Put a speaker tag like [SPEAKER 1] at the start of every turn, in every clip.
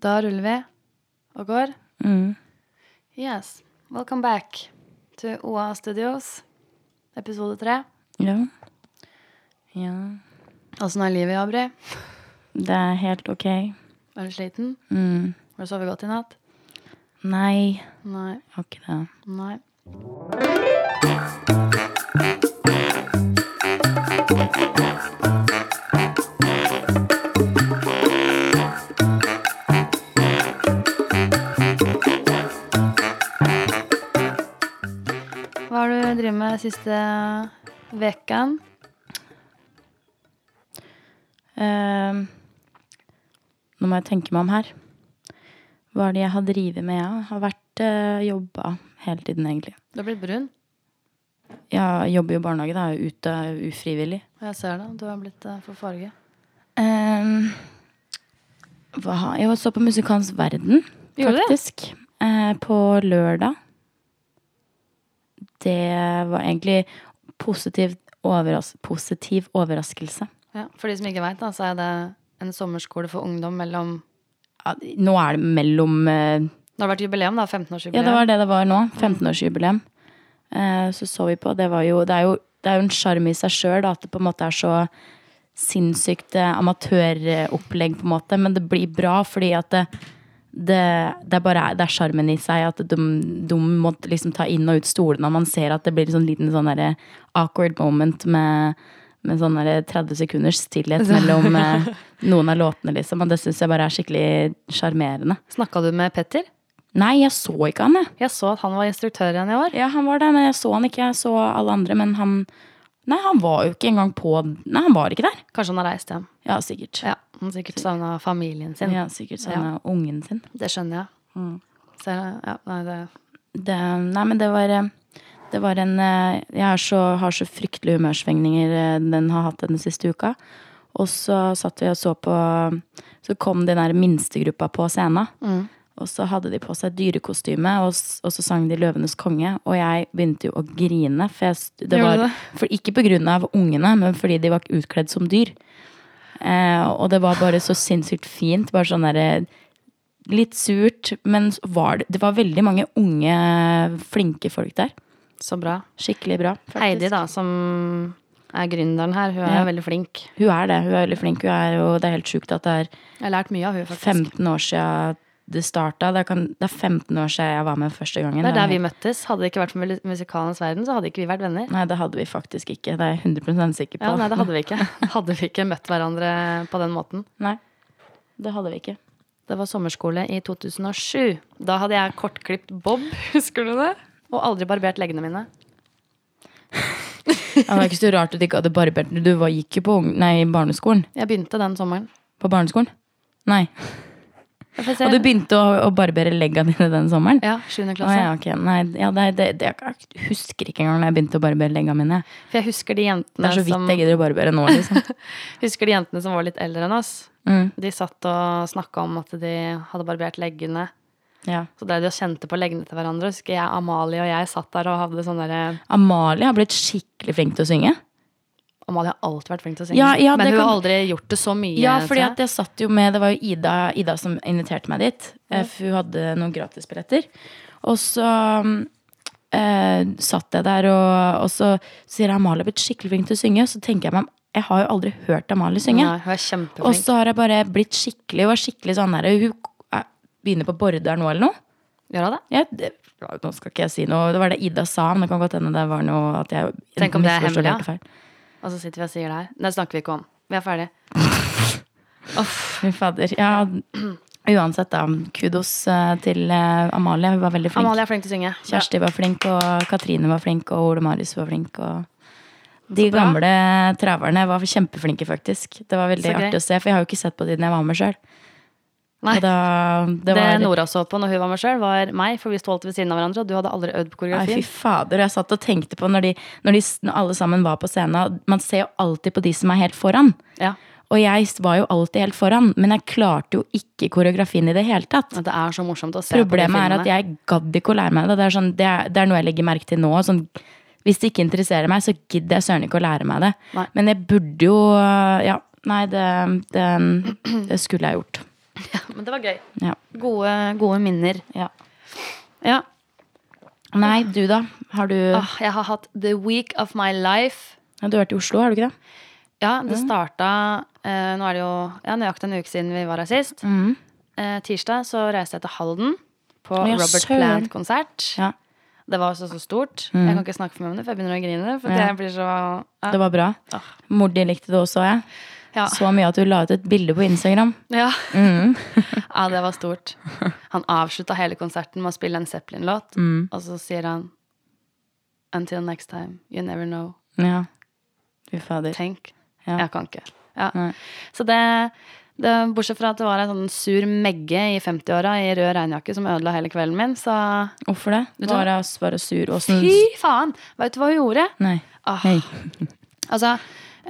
[SPEAKER 1] Da ruller vi og går.
[SPEAKER 2] Mm.
[SPEAKER 1] Yes. Welcome back to OA Studios, episode tre.
[SPEAKER 2] Ja. Ja.
[SPEAKER 1] Åssen er livet, Abri?
[SPEAKER 2] Det er helt ok.
[SPEAKER 1] Er du sliten?
[SPEAKER 2] Mm.
[SPEAKER 1] Har du sovet godt i natt?
[SPEAKER 2] Nei,
[SPEAKER 1] Nei.
[SPEAKER 2] jeg har ikke det.
[SPEAKER 1] Nei. Hva har du drevet med siste veken?
[SPEAKER 2] Ehm, nå må jeg tenke meg om her. Hva er det jeg har drevet med? Jeg har vært uh, jobba hele tiden, egentlig.
[SPEAKER 1] Du har blitt brun.
[SPEAKER 2] Jeg jobber jo i barnehage, da. Jeg er ute ufrivillig.
[SPEAKER 1] Og jeg ser det. Du har blitt eh, for farge.
[SPEAKER 2] Ehm, hva har Jeg så på Musikans Verden,
[SPEAKER 1] Gjorde du det?
[SPEAKER 2] faktisk. eh, på lørdag. Det var egentlig positiv, overras positiv overraskelse.
[SPEAKER 1] Ja, for de som ikke veit, så er det en sommerskole for ungdom mellom
[SPEAKER 2] Ja, nå er det mellom eh,
[SPEAKER 1] Det har vært jubileum, da. 15-årsjubileum.
[SPEAKER 2] Ja, det var det det var nå. 15-årsjubileum. Eh, Så så vi på. Det, var jo, det, er, jo, det er jo en sjarm i seg sjøl at det på en måte er så sinnssykt eh, amatøropplegg, på en måte. Men det blir bra fordi at det, det, det er bare det er sjarmen i seg. At de, de må liksom ta inn og ut stolene. Og man ser at det blir en sånn liten sånn derre awkward moment med med sånn derre 30 sekunders stillhet mellom eh, noen av låtene, liksom. Og det syns jeg bare er skikkelig sjarmerende.
[SPEAKER 1] Snakka du med Petter?
[SPEAKER 2] Nei, jeg så ikke han, jeg.
[SPEAKER 1] Jeg så at han var instruktør igjen i år.
[SPEAKER 2] Ja, han var der, men jeg så han ikke. Jeg så alle andre, men han Nei, han var jo ikke engang på Nei, han var ikke der.
[SPEAKER 1] Kanskje han har reist hjem.
[SPEAKER 2] Ja, sikkert.
[SPEAKER 1] Ja, Han sikkert savna familien sin.
[SPEAKER 2] Ja, sikkert sånn ja. ungen sin.
[SPEAKER 1] Det skjønner jeg. Så, ja, nei, det...
[SPEAKER 2] Det, nei, men det var eh, Det var en eh, Jeg er så, har så fryktelige humørsvingninger eh, den har hatt den siste uka. Og så satt vi og så på Så kom den der minstegruppa på scenen.
[SPEAKER 1] Mm.
[SPEAKER 2] Og så hadde de på seg dyrekostyme, og, s- og så sang de 'Løvenes konge'. Og jeg begynte jo å grine. For jeg, s- det
[SPEAKER 1] Gjorde
[SPEAKER 2] var,
[SPEAKER 1] du det?
[SPEAKER 2] for ikke pga. ungene, men fordi de var utkledd som dyr. Eh, og det var bare så sinnssykt fint. Bare sånn derre Litt surt, men så var det, det var veldig mange unge, flinke folk der.
[SPEAKER 1] Så bra.
[SPEAKER 2] Skikkelig bra. faktisk.
[SPEAKER 1] Heidi, da, som er gründeren her, hun er
[SPEAKER 2] Ja.
[SPEAKER 1] veldig flink.
[SPEAKER 2] Hun er det. Hun er veldig flink. Hun er jo, det er helt sjukt at det er
[SPEAKER 1] Jeg har lært mye av hun faktisk.
[SPEAKER 2] 15 år siden det starta. Det, kan, det er 15 år siden jeg var med første gangen.
[SPEAKER 1] Det er
[SPEAKER 2] Det
[SPEAKER 1] der
[SPEAKER 2] er
[SPEAKER 1] vi møttes. Hadde det ikke vært for mul- musikalens verden, så hadde ikke vi vært venner.
[SPEAKER 2] Nei, det hadde vi faktisk ikke. Det er jeg 100 sikker på.
[SPEAKER 1] Ja, nei, det hadde vi ikke. Hadde vi ikke møtt hverandre på den måten.
[SPEAKER 2] Nei, det hadde vi ikke.
[SPEAKER 1] Det var sommerskole i 2007. Da hadde jeg kortklipt bob, husker du det? Og aldri barbert leggene mine.
[SPEAKER 2] Det var ikke så rart at du ikke hadde barbert Du var, gikk jo på ung, nei, barneskolen.
[SPEAKER 1] Jeg begynte den sommeren.
[SPEAKER 2] På barneskolen? Nei.
[SPEAKER 1] Jeg får se.
[SPEAKER 2] Og du begynte å, å barbere legga dine den sommeren?
[SPEAKER 1] Ja, 7.
[SPEAKER 2] Å,
[SPEAKER 1] klasse.
[SPEAKER 2] ja, ok. Nei, ja, det, det, det, jeg husker ikke engang da jeg begynte å barbere legga mine.
[SPEAKER 1] For jeg husker de,
[SPEAKER 2] Det
[SPEAKER 1] jentene
[SPEAKER 2] er så
[SPEAKER 1] som,
[SPEAKER 2] vidt jeg gidder å barbere nå. Liksom.
[SPEAKER 1] husker de jentene som var litt eldre enn oss.
[SPEAKER 2] Mm.
[SPEAKER 1] De satt og snakka om at de hadde barbert leggene.
[SPEAKER 2] Ja.
[SPEAKER 1] Så drev de og kjente på leggene til hverandre. Husker jeg Amalie og jeg satt der og hadde sånn derre
[SPEAKER 2] Amalie har blitt skikkelig flink til å synge.
[SPEAKER 1] Amalie har alltid vært flink til å synge,
[SPEAKER 2] Ja, ja,
[SPEAKER 1] men
[SPEAKER 2] det
[SPEAKER 1] hun har
[SPEAKER 2] kan-
[SPEAKER 1] aldri gjort det så mye.
[SPEAKER 2] Ja,
[SPEAKER 1] tror
[SPEAKER 2] fordi
[SPEAKER 1] jeg.
[SPEAKER 2] at jeg satt jo med Det var jo Ida, Ida som inviterte meg dit. eh, For hun hadde noen gratisbilletter. Og så mm, eh, satt jeg der, og, og så sier jeg, Amalie har blitt skikkelig flink til å synge. Så tenker jeg meg om, jeg har jo aldri hørt Amalie synge.
[SPEAKER 1] Nei, hun er
[SPEAKER 2] og
[SPEAKER 1] kjempeflink.
[SPEAKER 2] så har jeg bare blitt skikkelig Hun er skikkelig sånn der Hun eh, begynner på Border nå, eller noe.
[SPEAKER 1] Gjør hun det?
[SPEAKER 2] Jeg, det, ja, nå skal ikke jeg si noe. Det var det Ida sa, men det kan godt hende det var noe at jeg
[SPEAKER 1] Tenk om det er
[SPEAKER 2] misforstod
[SPEAKER 1] hemmelig,
[SPEAKER 2] helt
[SPEAKER 1] ja.
[SPEAKER 2] feil.
[SPEAKER 1] Og så sitter vi og sier det her. Det snakker vi ikke om. Vi er ferdige.
[SPEAKER 2] Fy fader. Ja, uansett, da. Kudos eh, til eh, Amalie. Hun var veldig flink.
[SPEAKER 1] Amalie er flink til å synge.
[SPEAKER 2] Kjersti var flink, og Katrine var flink, og Ole Marius var flink. Og de
[SPEAKER 1] bra.
[SPEAKER 2] gamle traverne var kjempeflinke, faktisk. Det var veldig
[SPEAKER 1] Så gøy.
[SPEAKER 2] artig å se, for jeg har jo ikke sett på det siden jeg var med sjøl.
[SPEAKER 1] Nei.
[SPEAKER 2] Det,
[SPEAKER 1] Det,
[SPEAKER 2] var,
[SPEAKER 1] Nora så på når hun var med sjøl, var meg, for vi sto alltid ved siden av hverandre, og du hadde aldri øvd på
[SPEAKER 2] Nei, fy
[SPEAKER 1] koreografien.
[SPEAKER 2] fader. Jeg satt og tenkte på når, de, når, de, når alle sammen var på scenen. Man ser jo alltid på de som er helt foran.
[SPEAKER 1] ja.
[SPEAKER 2] Og jeg var jo alltid helt foran, men jeg klarte jo ikke koreografien i det hele tatt.
[SPEAKER 1] Men Det er så morsomt å se
[SPEAKER 2] Problemet er
[SPEAKER 1] på de
[SPEAKER 2] at jeg gadd ikke å lære meg det. Det er, sånn, det, er, det er noe jeg legger merke til nå. Sånn, hvis det ikke interesserer meg, så gidder jeg søren ikke å lære meg det.
[SPEAKER 1] Nei.
[SPEAKER 2] Men jeg burde jo Ja, nei, det, det, det skulle jeg gjort.
[SPEAKER 1] Ja, Men det var gøy.
[SPEAKER 2] Ja.
[SPEAKER 1] Gode, gode minner.
[SPEAKER 2] ja.
[SPEAKER 1] Ja.
[SPEAKER 2] Nei, du da? Har du
[SPEAKER 1] Åh, jeg har hatt the week of my life.
[SPEAKER 2] Ja, Du har vært i Oslo, har du ikke det?
[SPEAKER 1] Ja,
[SPEAKER 2] Mm.
[SPEAKER 1] det starta eh, Nå er det jo ja, nøyaktig en uke siden vi var her sist. Eh, tirsdag så reiste jeg til Halden på
[SPEAKER 2] Mm. Å, ja,
[SPEAKER 1] Robert
[SPEAKER 2] søren.
[SPEAKER 1] Plant-konsert.
[SPEAKER 2] Ja. Mm.
[SPEAKER 1] Det var også så stort. Jeg kan ikke snakke for meg om det, for jeg begynner å grine. For
[SPEAKER 2] Ja.
[SPEAKER 1] jeg blir så ja.
[SPEAKER 2] Det var bra. Mor di likte det også, jeg.
[SPEAKER 1] Ah. Ja.
[SPEAKER 2] Så mye at du la ut et bilde på Instagram.
[SPEAKER 1] Ja.
[SPEAKER 2] Mm.
[SPEAKER 1] ja, det var stort. Han avslutta hele konserten med å spille en Zeppelin-låt,
[SPEAKER 2] Mm.
[SPEAKER 1] og så sier han Until next time, you never know.
[SPEAKER 2] Ja. Fy fader.
[SPEAKER 1] Tenk.
[SPEAKER 2] Ja.
[SPEAKER 1] Jeg kan ikke. Ja. Så det, det Bortsett fra at det var en sånn sur megge i 50-åra i rød regnjakke som ødela hele kvelden min, så
[SPEAKER 2] Hvorfor det?
[SPEAKER 1] du hva?
[SPEAKER 2] Var jeg bare sur og
[SPEAKER 1] Fy
[SPEAKER 2] snus?
[SPEAKER 1] faen! Veit du hva hun gjorde?
[SPEAKER 2] Nei.
[SPEAKER 1] Ah.
[SPEAKER 2] Hei.
[SPEAKER 1] Altså,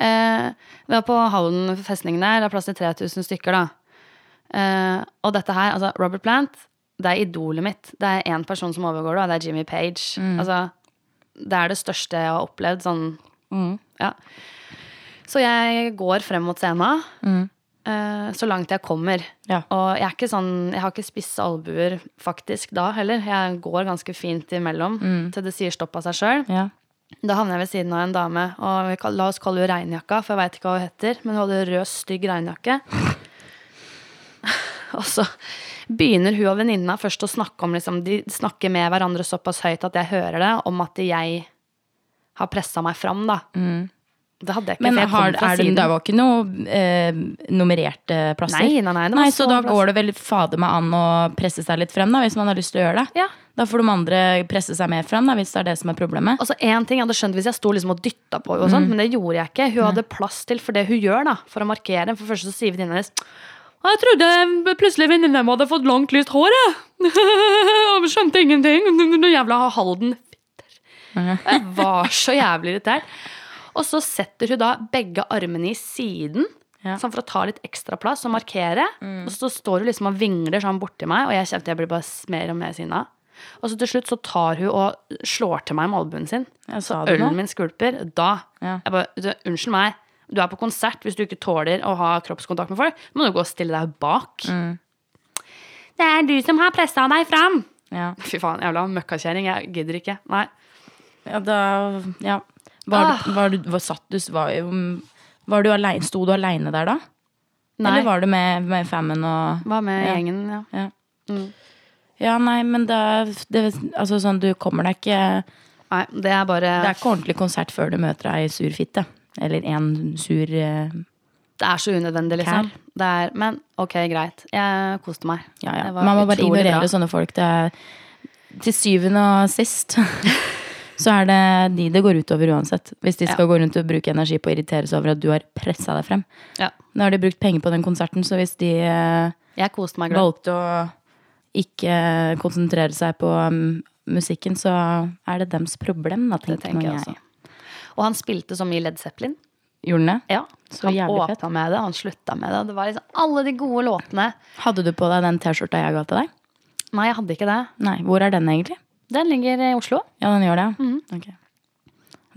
[SPEAKER 1] eh, vi var på Hallen festning der. Det er plass til 3000 stykker, da. Eh, og dette her, altså Robert Plant, det er idolet mitt. Det er én person som overgår det, og det er Jimmy Page.
[SPEAKER 2] Mm.
[SPEAKER 1] Altså, det er det største jeg har opplevd. Sånn, ja. Så jeg går frem mot scenen. eh, så langt jeg kommer.
[SPEAKER 2] Mm. Ja.
[SPEAKER 1] Og jeg er ikke sånn Jeg har ikke spisse albuer faktisk da heller. Jeg går ganske fint imellom
[SPEAKER 2] Mm.
[SPEAKER 1] til det sier stopp av seg sjøl.
[SPEAKER 2] Ja.
[SPEAKER 1] Da havner jeg ved siden av en dame, og vi kall- la oss kalle henne Regnjakka, for jeg veit ikke hva hun heter, men hun hadde rød, stygg regnjakke. og så begynner hun og venninna først å snakke om liksom, De snakker med hverandre såpass høyt at jeg hører det, om at jeg har pressa meg fram, da. Det hadde jeg ikke,
[SPEAKER 2] Mm. Men
[SPEAKER 1] for jeg kom
[SPEAKER 2] har,
[SPEAKER 1] fra
[SPEAKER 2] er det,
[SPEAKER 1] siden.
[SPEAKER 2] det var ikke noe eh, nummererte plasser?
[SPEAKER 1] Nei, nei, nei, det var
[SPEAKER 2] så da
[SPEAKER 1] stående plass.
[SPEAKER 2] går det vel fader meg an å presse seg litt frem, da, hvis man har lyst til å gjøre det?
[SPEAKER 1] Ja.
[SPEAKER 2] Da får de andre presse seg mer frem, da, hvis det er det som er problemet.
[SPEAKER 1] Altså, en ting jeg hadde skjønt hvis jeg sto liksom og dytta på henne, og sånt, men det gjorde jeg ikke. Hun hadde plass til for det hun gjør, da, for å markere. For først så sier venninna hennes jeg trodde plutselig venninna mi hadde fått langt, lyst hår, jeg. Og skjønte ingenting. Noe jævla Halden. Fitter. Jeg var så jævlig irritert. Og så setter hun da begge armene i siden,
[SPEAKER 2] Ja.
[SPEAKER 1] sånn for å ta litt ekstra plass og markere. Og så står hun liksom og vingler sånn borti meg, og jeg kjente jeg blir bare mer og mer sinna. Og så til slutt så tar hun og slår til meg med albuen sin.
[SPEAKER 2] Jeg
[SPEAKER 1] Så
[SPEAKER 2] sa det nå.
[SPEAKER 1] ølen min skvulper. Da
[SPEAKER 2] Ja.
[SPEAKER 1] jeg bare, du, Unnskyld meg, du er på konsert hvis du ikke tåler å ha kroppskontakt med folk. Må du gå og stille deg bak.
[SPEAKER 2] Mm.
[SPEAKER 1] Det er du som har pressa deg fram!
[SPEAKER 2] Ja.
[SPEAKER 1] Fy faen, jævla møkkakjerring. Jeg gidder ikke. Nei.
[SPEAKER 2] Ja, da Ja. Var,
[SPEAKER 1] Ah.
[SPEAKER 2] du, var, du, var, satt du, var, um, var du alene, Sto du aleine der da?
[SPEAKER 1] Nei.
[SPEAKER 2] Eller var du med, med famen og
[SPEAKER 1] Hva med
[SPEAKER 2] Ja.
[SPEAKER 1] gjengen? Ja.
[SPEAKER 2] Ja. ja, nei, men da det, Altså sånn, du kommer deg ikke Det
[SPEAKER 1] Nei, det er bare
[SPEAKER 2] er ikke ordentlig konsert før du møter ei sur fitte. Eller en sur eh,
[SPEAKER 1] Det er så unødvendig, liksom. Det er, men ok, greit. Jeg koste meg.
[SPEAKER 2] Ja, ja.
[SPEAKER 1] Det var
[SPEAKER 2] Man må bare
[SPEAKER 1] utrolig
[SPEAKER 2] ignorere
[SPEAKER 1] bra.
[SPEAKER 2] sånne folk. Det er, til syvende og sist så er det de det går utover uansett. Hvis de skal gå rundt og bruke energi på å irritere seg over at du har pressa deg frem.
[SPEAKER 1] Ja.
[SPEAKER 2] Nå har de brukt penger på den konserten, så hvis de eh,
[SPEAKER 1] Jeg koste meg. gløtt.
[SPEAKER 2] valgte å ikke eh, konsentrere seg på mm, musikken, så er det dems problem, da,
[SPEAKER 1] Det
[SPEAKER 2] tenker
[SPEAKER 1] tenker
[SPEAKER 2] man.
[SPEAKER 1] jeg
[SPEAKER 2] Jeg.
[SPEAKER 1] også. Og han spilte så mye Led Zeppelin.
[SPEAKER 2] Gjorde den det?
[SPEAKER 1] Ja,
[SPEAKER 2] Så
[SPEAKER 1] han
[SPEAKER 2] jævlig fett.
[SPEAKER 1] åpna med det, han slutta med det. Det var liksom alle de gode låtene.
[SPEAKER 2] Hadde du på deg den T-skjorta jeg ga til deg?
[SPEAKER 1] Nei, jeg hadde ikke det.
[SPEAKER 2] Nei, Hvor er den egentlig?
[SPEAKER 1] Den ligger i Oslo.
[SPEAKER 2] Ja, den gjør det, ja. Ok.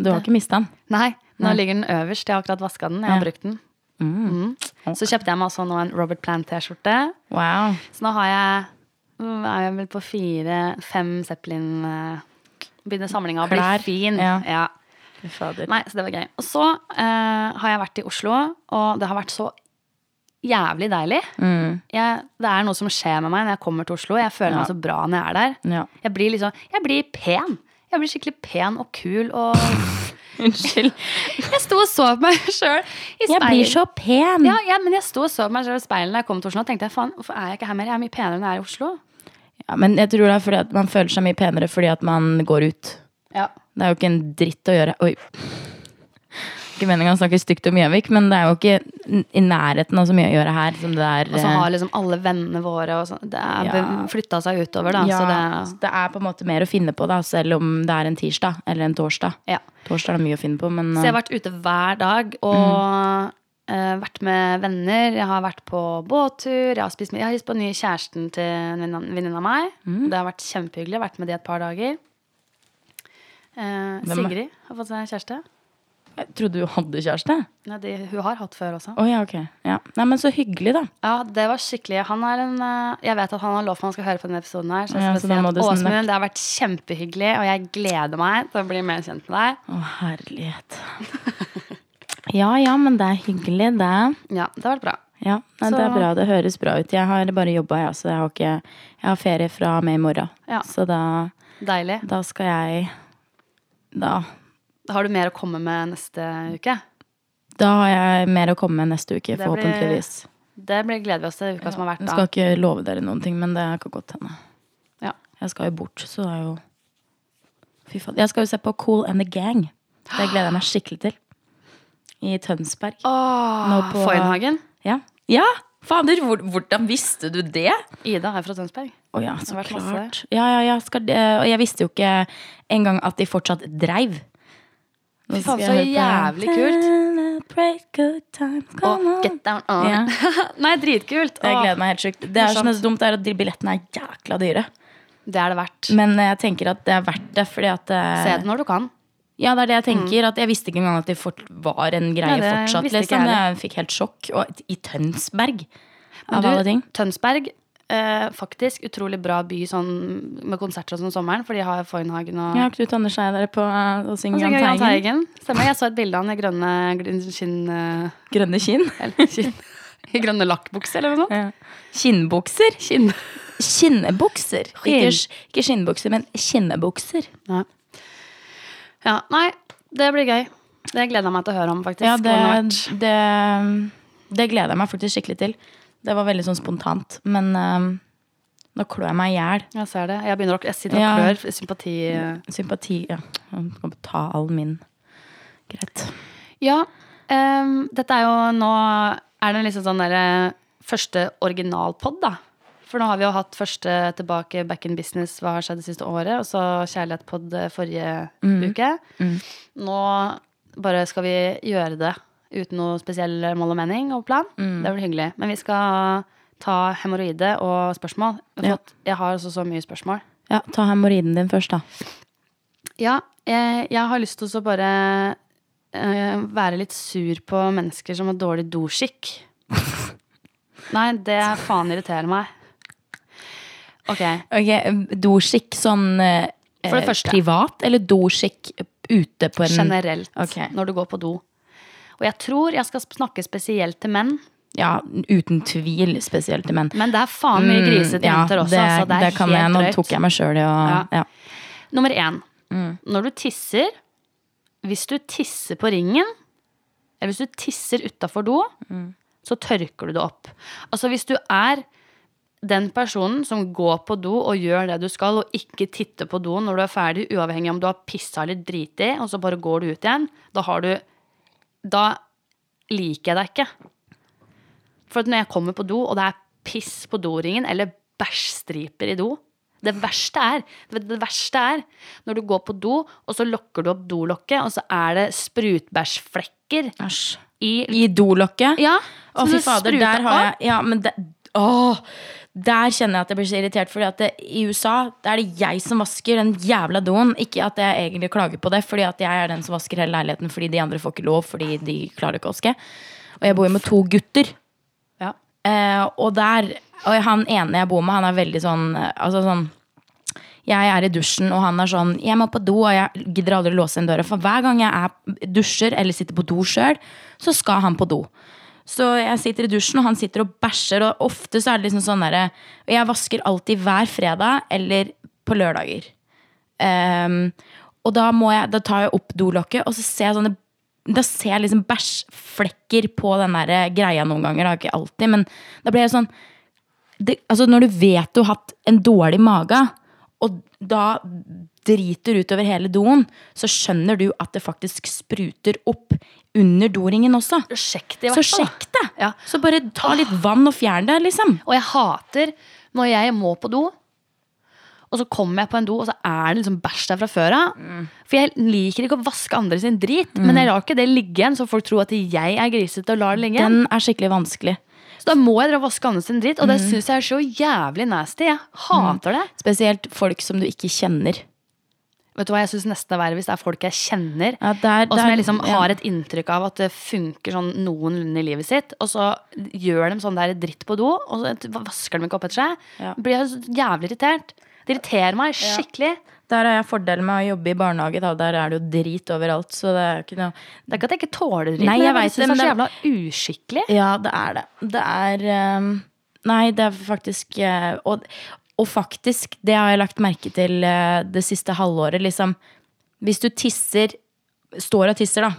[SPEAKER 2] Du har ikke mista den?
[SPEAKER 1] Nei, nå ligger den øverst. Jeg har akkurat vaska den. Jeg har brukt den. Mm. Så kjøpte jeg meg også nå en Robert Plant-T-skjorte.
[SPEAKER 2] Wow.
[SPEAKER 1] Så nå har jeg mm, er jeg vel på fire, fem Zeppelin eh, Begynner samlinga å bli
[SPEAKER 2] Klær.
[SPEAKER 1] fin.
[SPEAKER 2] Ja.
[SPEAKER 1] ja.
[SPEAKER 2] Fy fader.
[SPEAKER 1] Nei, så det var gøy. Og så eh, har jeg vært i Oslo, og det har vært så jævlig deilig.
[SPEAKER 2] Mm.
[SPEAKER 1] Jeg, det er noe som skjer med meg når jeg kommer til Oslo. Jeg føler meg så bra når jeg er der.
[SPEAKER 2] Ja.
[SPEAKER 1] Jeg blir liksom, jeg blir pen. Jeg blir skikkelig pen og kul og Unnskyld. jeg sto og så på meg sjøl i
[SPEAKER 2] Jeg blir
[SPEAKER 1] speilet.
[SPEAKER 2] så pen!
[SPEAKER 1] Ja, ja, men jeg sto og så på meg selv i speilet når jeg kom til Oslo og tenkte jeg, faen, hvorfor er jeg ikke her mer? Jeg er mye penere enn jeg er i Oslo.
[SPEAKER 2] Ja, men jeg tror det er fordi at man føler seg mye penere fordi at man går ut.
[SPEAKER 1] Ja.
[SPEAKER 2] Det er jo ikke en dritt å gjøre. Oi. Ikke meninga å snakke stygt om Gjøvik, men det er jo ikke n- i nærheten av så mye å gjøre her som det er
[SPEAKER 1] Og så
[SPEAKER 2] eh,
[SPEAKER 1] har liksom alle vennene våre og sånn. Det er
[SPEAKER 2] Ja.
[SPEAKER 1] flytta seg utover, da.
[SPEAKER 2] ja,
[SPEAKER 1] Så
[SPEAKER 2] så det er på en måte mer å finne på, da, selv om det er en tirsdag eller en torsdag.
[SPEAKER 1] det ja.
[SPEAKER 2] Torsdag er det mye å finne på, men
[SPEAKER 1] Så jeg har vært ute hver dag og
[SPEAKER 2] Mm.
[SPEAKER 1] eh, vært med venner. Jeg har vært på båttur. Jeg har, spist, med- jeg har hilst på den nye kjæresten til en venninne- venninne av meg.
[SPEAKER 2] Mm.
[SPEAKER 1] Det har vært kjempehyggelig. Jeg har vært med de et par dager. Eh,
[SPEAKER 2] Hvem er-
[SPEAKER 1] Sigrid har fått seg kjæreste.
[SPEAKER 2] eh, Jeg trodde hun hadde kjæreste.
[SPEAKER 1] Nei, de, hun har hatt før også.
[SPEAKER 2] Å ja, ok. Ja. Nei, men så hyggelig, da.
[SPEAKER 1] Ja, det var skikkelig han er en, eh, Jeg vet at han har lovt man skal høre på denne episoden her. Så jeg
[SPEAKER 2] Ja,
[SPEAKER 1] skal
[SPEAKER 2] så
[SPEAKER 1] si
[SPEAKER 2] da må
[SPEAKER 1] at
[SPEAKER 2] du snakke.
[SPEAKER 1] Åsmund, det har vært kjempehyggelig, og jeg gleder meg til å bli mer kjent med deg.
[SPEAKER 2] Å, herlighet. Ja ja, men det er hyggelig, det.
[SPEAKER 1] Ja, det har vært bra.
[SPEAKER 2] Ja, nei, Det
[SPEAKER 1] Så-
[SPEAKER 2] er bra. Det høres bra ut. Jeg har bare jobba, jeg, så jeg har, ikke, jeg har ferie fra og med i morgen.
[SPEAKER 1] Ja.
[SPEAKER 2] Så da,
[SPEAKER 1] Deilig.
[SPEAKER 2] da skal jeg da,
[SPEAKER 1] Har du mer å komme med neste uke?
[SPEAKER 2] da har jeg mer å komme med neste uke,
[SPEAKER 1] Det blir-
[SPEAKER 2] forhåpentligvis.
[SPEAKER 1] Det blir, gleder vi oss til uka som har vært
[SPEAKER 2] Jeg
[SPEAKER 1] da.
[SPEAKER 2] skal ikke love dere noen ting, men det kan godt hende.
[SPEAKER 1] Ja.
[SPEAKER 2] Jeg skal jo bort, så det er jo Fy faen. Jeg skal jo se på Cool and the Gang. Det gleder jeg meg skikkelig til. I Tønsberg.
[SPEAKER 1] Åh,
[SPEAKER 2] Nå på-
[SPEAKER 1] Foynhagen.
[SPEAKER 2] Ja. ja! Fader, hvor, hvordan visste du det?
[SPEAKER 1] Ida er fra Tønsberg.
[SPEAKER 2] Å ja, så
[SPEAKER 1] har vært masse
[SPEAKER 2] klart. Ja, ja, ja, skal det, og jeg visste jo ikke engang at de fortsatt dreiv. Nå
[SPEAKER 1] Fy faen,
[SPEAKER 2] skal jeg
[SPEAKER 1] så
[SPEAKER 2] høre på-
[SPEAKER 1] jævlig kult.
[SPEAKER 2] Celebrate good times,
[SPEAKER 1] Og
[SPEAKER 2] come on.
[SPEAKER 1] Get Down On.
[SPEAKER 2] Ja.
[SPEAKER 1] Nei, dritkult.
[SPEAKER 2] Jeg
[SPEAKER 1] Åh,
[SPEAKER 2] gleder meg helt sjukt. Det er
[SPEAKER 1] Morsomt.
[SPEAKER 2] sånn dumt det er at de billettene er jækla dyre.
[SPEAKER 1] det er det verdt.
[SPEAKER 2] Men eh, jeg tenker at det er verdt det, fordi at eh,
[SPEAKER 1] Se det når du kan.
[SPEAKER 2] Ja, det er det jeg tenker. At jeg visste ikke engang at de fort var en greie
[SPEAKER 1] Nei, det
[SPEAKER 2] fortsatt.
[SPEAKER 1] visste ikke
[SPEAKER 2] Liksom.
[SPEAKER 1] jeg
[SPEAKER 2] Jeg fikk helt sjokk. Og i Tønsberg,
[SPEAKER 1] Men
[SPEAKER 2] av
[SPEAKER 1] du,
[SPEAKER 2] alle ting.
[SPEAKER 1] Tønsberg, eh, faktisk utrolig bra by sånn, med konserter og sånn om sommeren, for de har Foynhagen og
[SPEAKER 2] Ja, Knut Anders er der på eh, å
[SPEAKER 1] Og
[SPEAKER 2] synge
[SPEAKER 1] så
[SPEAKER 2] Jahn
[SPEAKER 1] Jahn
[SPEAKER 2] Teigen.
[SPEAKER 1] Teigen. Stemmer. Jeg så et bilde av han i grønne gl- skinn... eh,
[SPEAKER 2] Grønne kinn.
[SPEAKER 1] Eller skinn. I grønne lakkbukser, eller noe sånt.
[SPEAKER 2] Ja. Kinnbukser.
[SPEAKER 1] Skinn.
[SPEAKER 2] Kinnebukser.
[SPEAKER 1] Skinn.
[SPEAKER 2] Ikke, sk- ikke skinnbukser, men kinnebukser.
[SPEAKER 1] Ja. ja. Nei, det blir gøy. Det gleder jeg meg til å høre om, faktisk.
[SPEAKER 2] Ja, det,
[SPEAKER 1] hvordan det har vært.
[SPEAKER 2] det, mm, det gleder jeg meg faktisk skikkelig til. Det var veldig sånn spontant. Men eh, nå klør jeg meg i hjel.
[SPEAKER 1] Jeg ser det. Jeg, begynner å, jeg sitter og
[SPEAKER 2] Ja.
[SPEAKER 1] klør sympati...
[SPEAKER 2] Sympati Ja, jeg kan ta all min. Greit.
[SPEAKER 1] Ja, ehm, dette er jo nå Er det liksom sånn derre første originalpod, da? For nå har vi jo hatt første tilbake back in business, hva har skjedd det siste året? Og så kjærlighetpod forrige uke. Mm. Nå bare skal vi gjøre det uten noe spesiell mål og mening og plan. Det blir hyggelig. Men vi skal ta hemoroide og spørsmål. Jeg har,
[SPEAKER 2] Ja.
[SPEAKER 1] fått, jeg har også så mye spørsmål.
[SPEAKER 2] Ja, ta hemoroiden din først, da.
[SPEAKER 1] Ja, jeg, jeg har lyst til å bare eh, være litt sur på mennesker som har dårlig doskikk. Nei, det faen irriterer meg. Ok.
[SPEAKER 2] Ok, Doskikk sånn eh,
[SPEAKER 1] For det første.
[SPEAKER 2] privat, eller doskikk ute på en
[SPEAKER 1] Generelt
[SPEAKER 2] Ok.
[SPEAKER 1] når du går på do. Og jeg tror jeg skal snakke spesielt til menn,
[SPEAKER 2] Ja, uten tvil, spesielt til menn.
[SPEAKER 1] men det er faen mye grisete
[SPEAKER 2] Mm, Ja,
[SPEAKER 1] jenter også. så det er
[SPEAKER 2] kan jeg,
[SPEAKER 1] helt
[SPEAKER 2] Nå
[SPEAKER 1] drøyt.
[SPEAKER 2] tok jeg meg Mm. sjøl i å
[SPEAKER 1] Ja.
[SPEAKER 2] ja.
[SPEAKER 1] Nummer én. Når du tisser Hvis du tisser på ringen, eller Eh, hvis du tisser utafor do, så tørker du det opp. Altså hvis du er den personen som går på do og gjør det du skal, og ikke titter på doen når du er ferdig, uavhengig om du har pissa eller driti, og så bare går du ut igjen, da har du Da liker jeg deg ikke. For at når jeg kommer på do, og det er piss på doringen, eller bæsjstriper i do det verste, er, det verste er når du går på do, og så lokker du opp dolokket, og så er det sprutbæsjflekker
[SPEAKER 2] Æsj.
[SPEAKER 1] i
[SPEAKER 2] I dolokket?
[SPEAKER 1] Ja.
[SPEAKER 2] Å,
[SPEAKER 1] som
[SPEAKER 2] fy
[SPEAKER 1] det
[SPEAKER 2] fader,
[SPEAKER 1] spruter
[SPEAKER 2] der har
[SPEAKER 1] av.
[SPEAKER 2] jeg Ja, men det Åh! Der kjenner jeg at jeg blir så irritert, Fordi at det, i USA det er det jeg som vasker den jævla doen. Ikke at jeg egentlig klager på det, Fordi at jeg er den som vasker hele leiligheten fordi de andre får ikke lov, fordi de klarer ikke å vaske. Og jeg bor jo med to gutter.
[SPEAKER 1] Ja.
[SPEAKER 2] Eh, og der og han ene jeg bor med, han er veldig sånn eh, Altså sånn jeg er i dusjen, og han er sånn Jeg må på do, og jeg gidder aldri låse igjen døra. For hver gang jeg er, dusjer eller sitter på do sjøl, så skal han på do. Så jeg sitter i dusjen, og han sitter og bæsjer, og ofte så er det liksom sånn derre Og jeg vasker alltid hver fredag eller på lørdager. Ehm, og da, må jeg, da tar jeg opp dolokket, og så ser jeg sånne da ser jeg liksom bæsjflekker på den der eh, greia noen ganger. Da. Ikke alltid, men da blir jeg sånn det, altså Når du vet du har hatt en dårlig mage, og da driter utover hele doen, så skjønner du at det faktisk spruter opp under doringen også.
[SPEAKER 1] Sjekk det, i
[SPEAKER 2] Så
[SPEAKER 1] hvert fall.
[SPEAKER 2] sjekk det!
[SPEAKER 1] Ja.
[SPEAKER 2] Så bare ta litt vann og fjern det, liksom.
[SPEAKER 1] Og jeg hater når jeg må på do, og så kommer jeg på en do, og så er det liksom bæsj der fra før av. For jeg liker ikke å vaske andre sin drit, men jeg lar ikke det ligge igjen, så folk tror at jeg er grisete og lar det ligge igjen.
[SPEAKER 2] Den er skikkelig vanskelig.
[SPEAKER 1] Så da må jeg dra og vaske andre sin drit, og det syns Mm. jeg er så jævlig nasty. Jeg hater det.
[SPEAKER 2] Spesielt folk som du ikke kjenner.
[SPEAKER 1] Vet du hva, jeg syns nesten det er verre hvis det er folk jeg kjenner,
[SPEAKER 2] Ja, det er-
[SPEAKER 1] og
[SPEAKER 2] det
[SPEAKER 1] som
[SPEAKER 2] er-
[SPEAKER 1] jeg liksom
[SPEAKER 2] ja.
[SPEAKER 1] har et inntrykk av at det funker sånn noenlunde i livet sitt, og så gjør de sånn der dritt på do, og så vasker de ikke opp etter seg.
[SPEAKER 2] Ja.
[SPEAKER 1] Blir jeg så jævlig irritert. Det irriterer meg skikkelig.
[SPEAKER 2] Der har jeg fordelen med å jobbe i barnehage. Da. Der er det jo drit overalt. Så det er ikke noe
[SPEAKER 1] Det er ikke at jeg ikke tåler dritt,
[SPEAKER 2] Nei,
[SPEAKER 1] men
[SPEAKER 2] jeg
[SPEAKER 1] jeg bare
[SPEAKER 2] vet
[SPEAKER 1] synes
[SPEAKER 2] det,
[SPEAKER 1] det er så
[SPEAKER 2] men
[SPEAKER 1] jævla uskikkelig.
[SPEAKER 2] Ja, det er det. Det er ehm, Nei, det er faktisk eh, og, og faktisk, det har jeg lagt merke til eh, det siste halvåret, liksom. Hvis du tisser Står og tisser, da.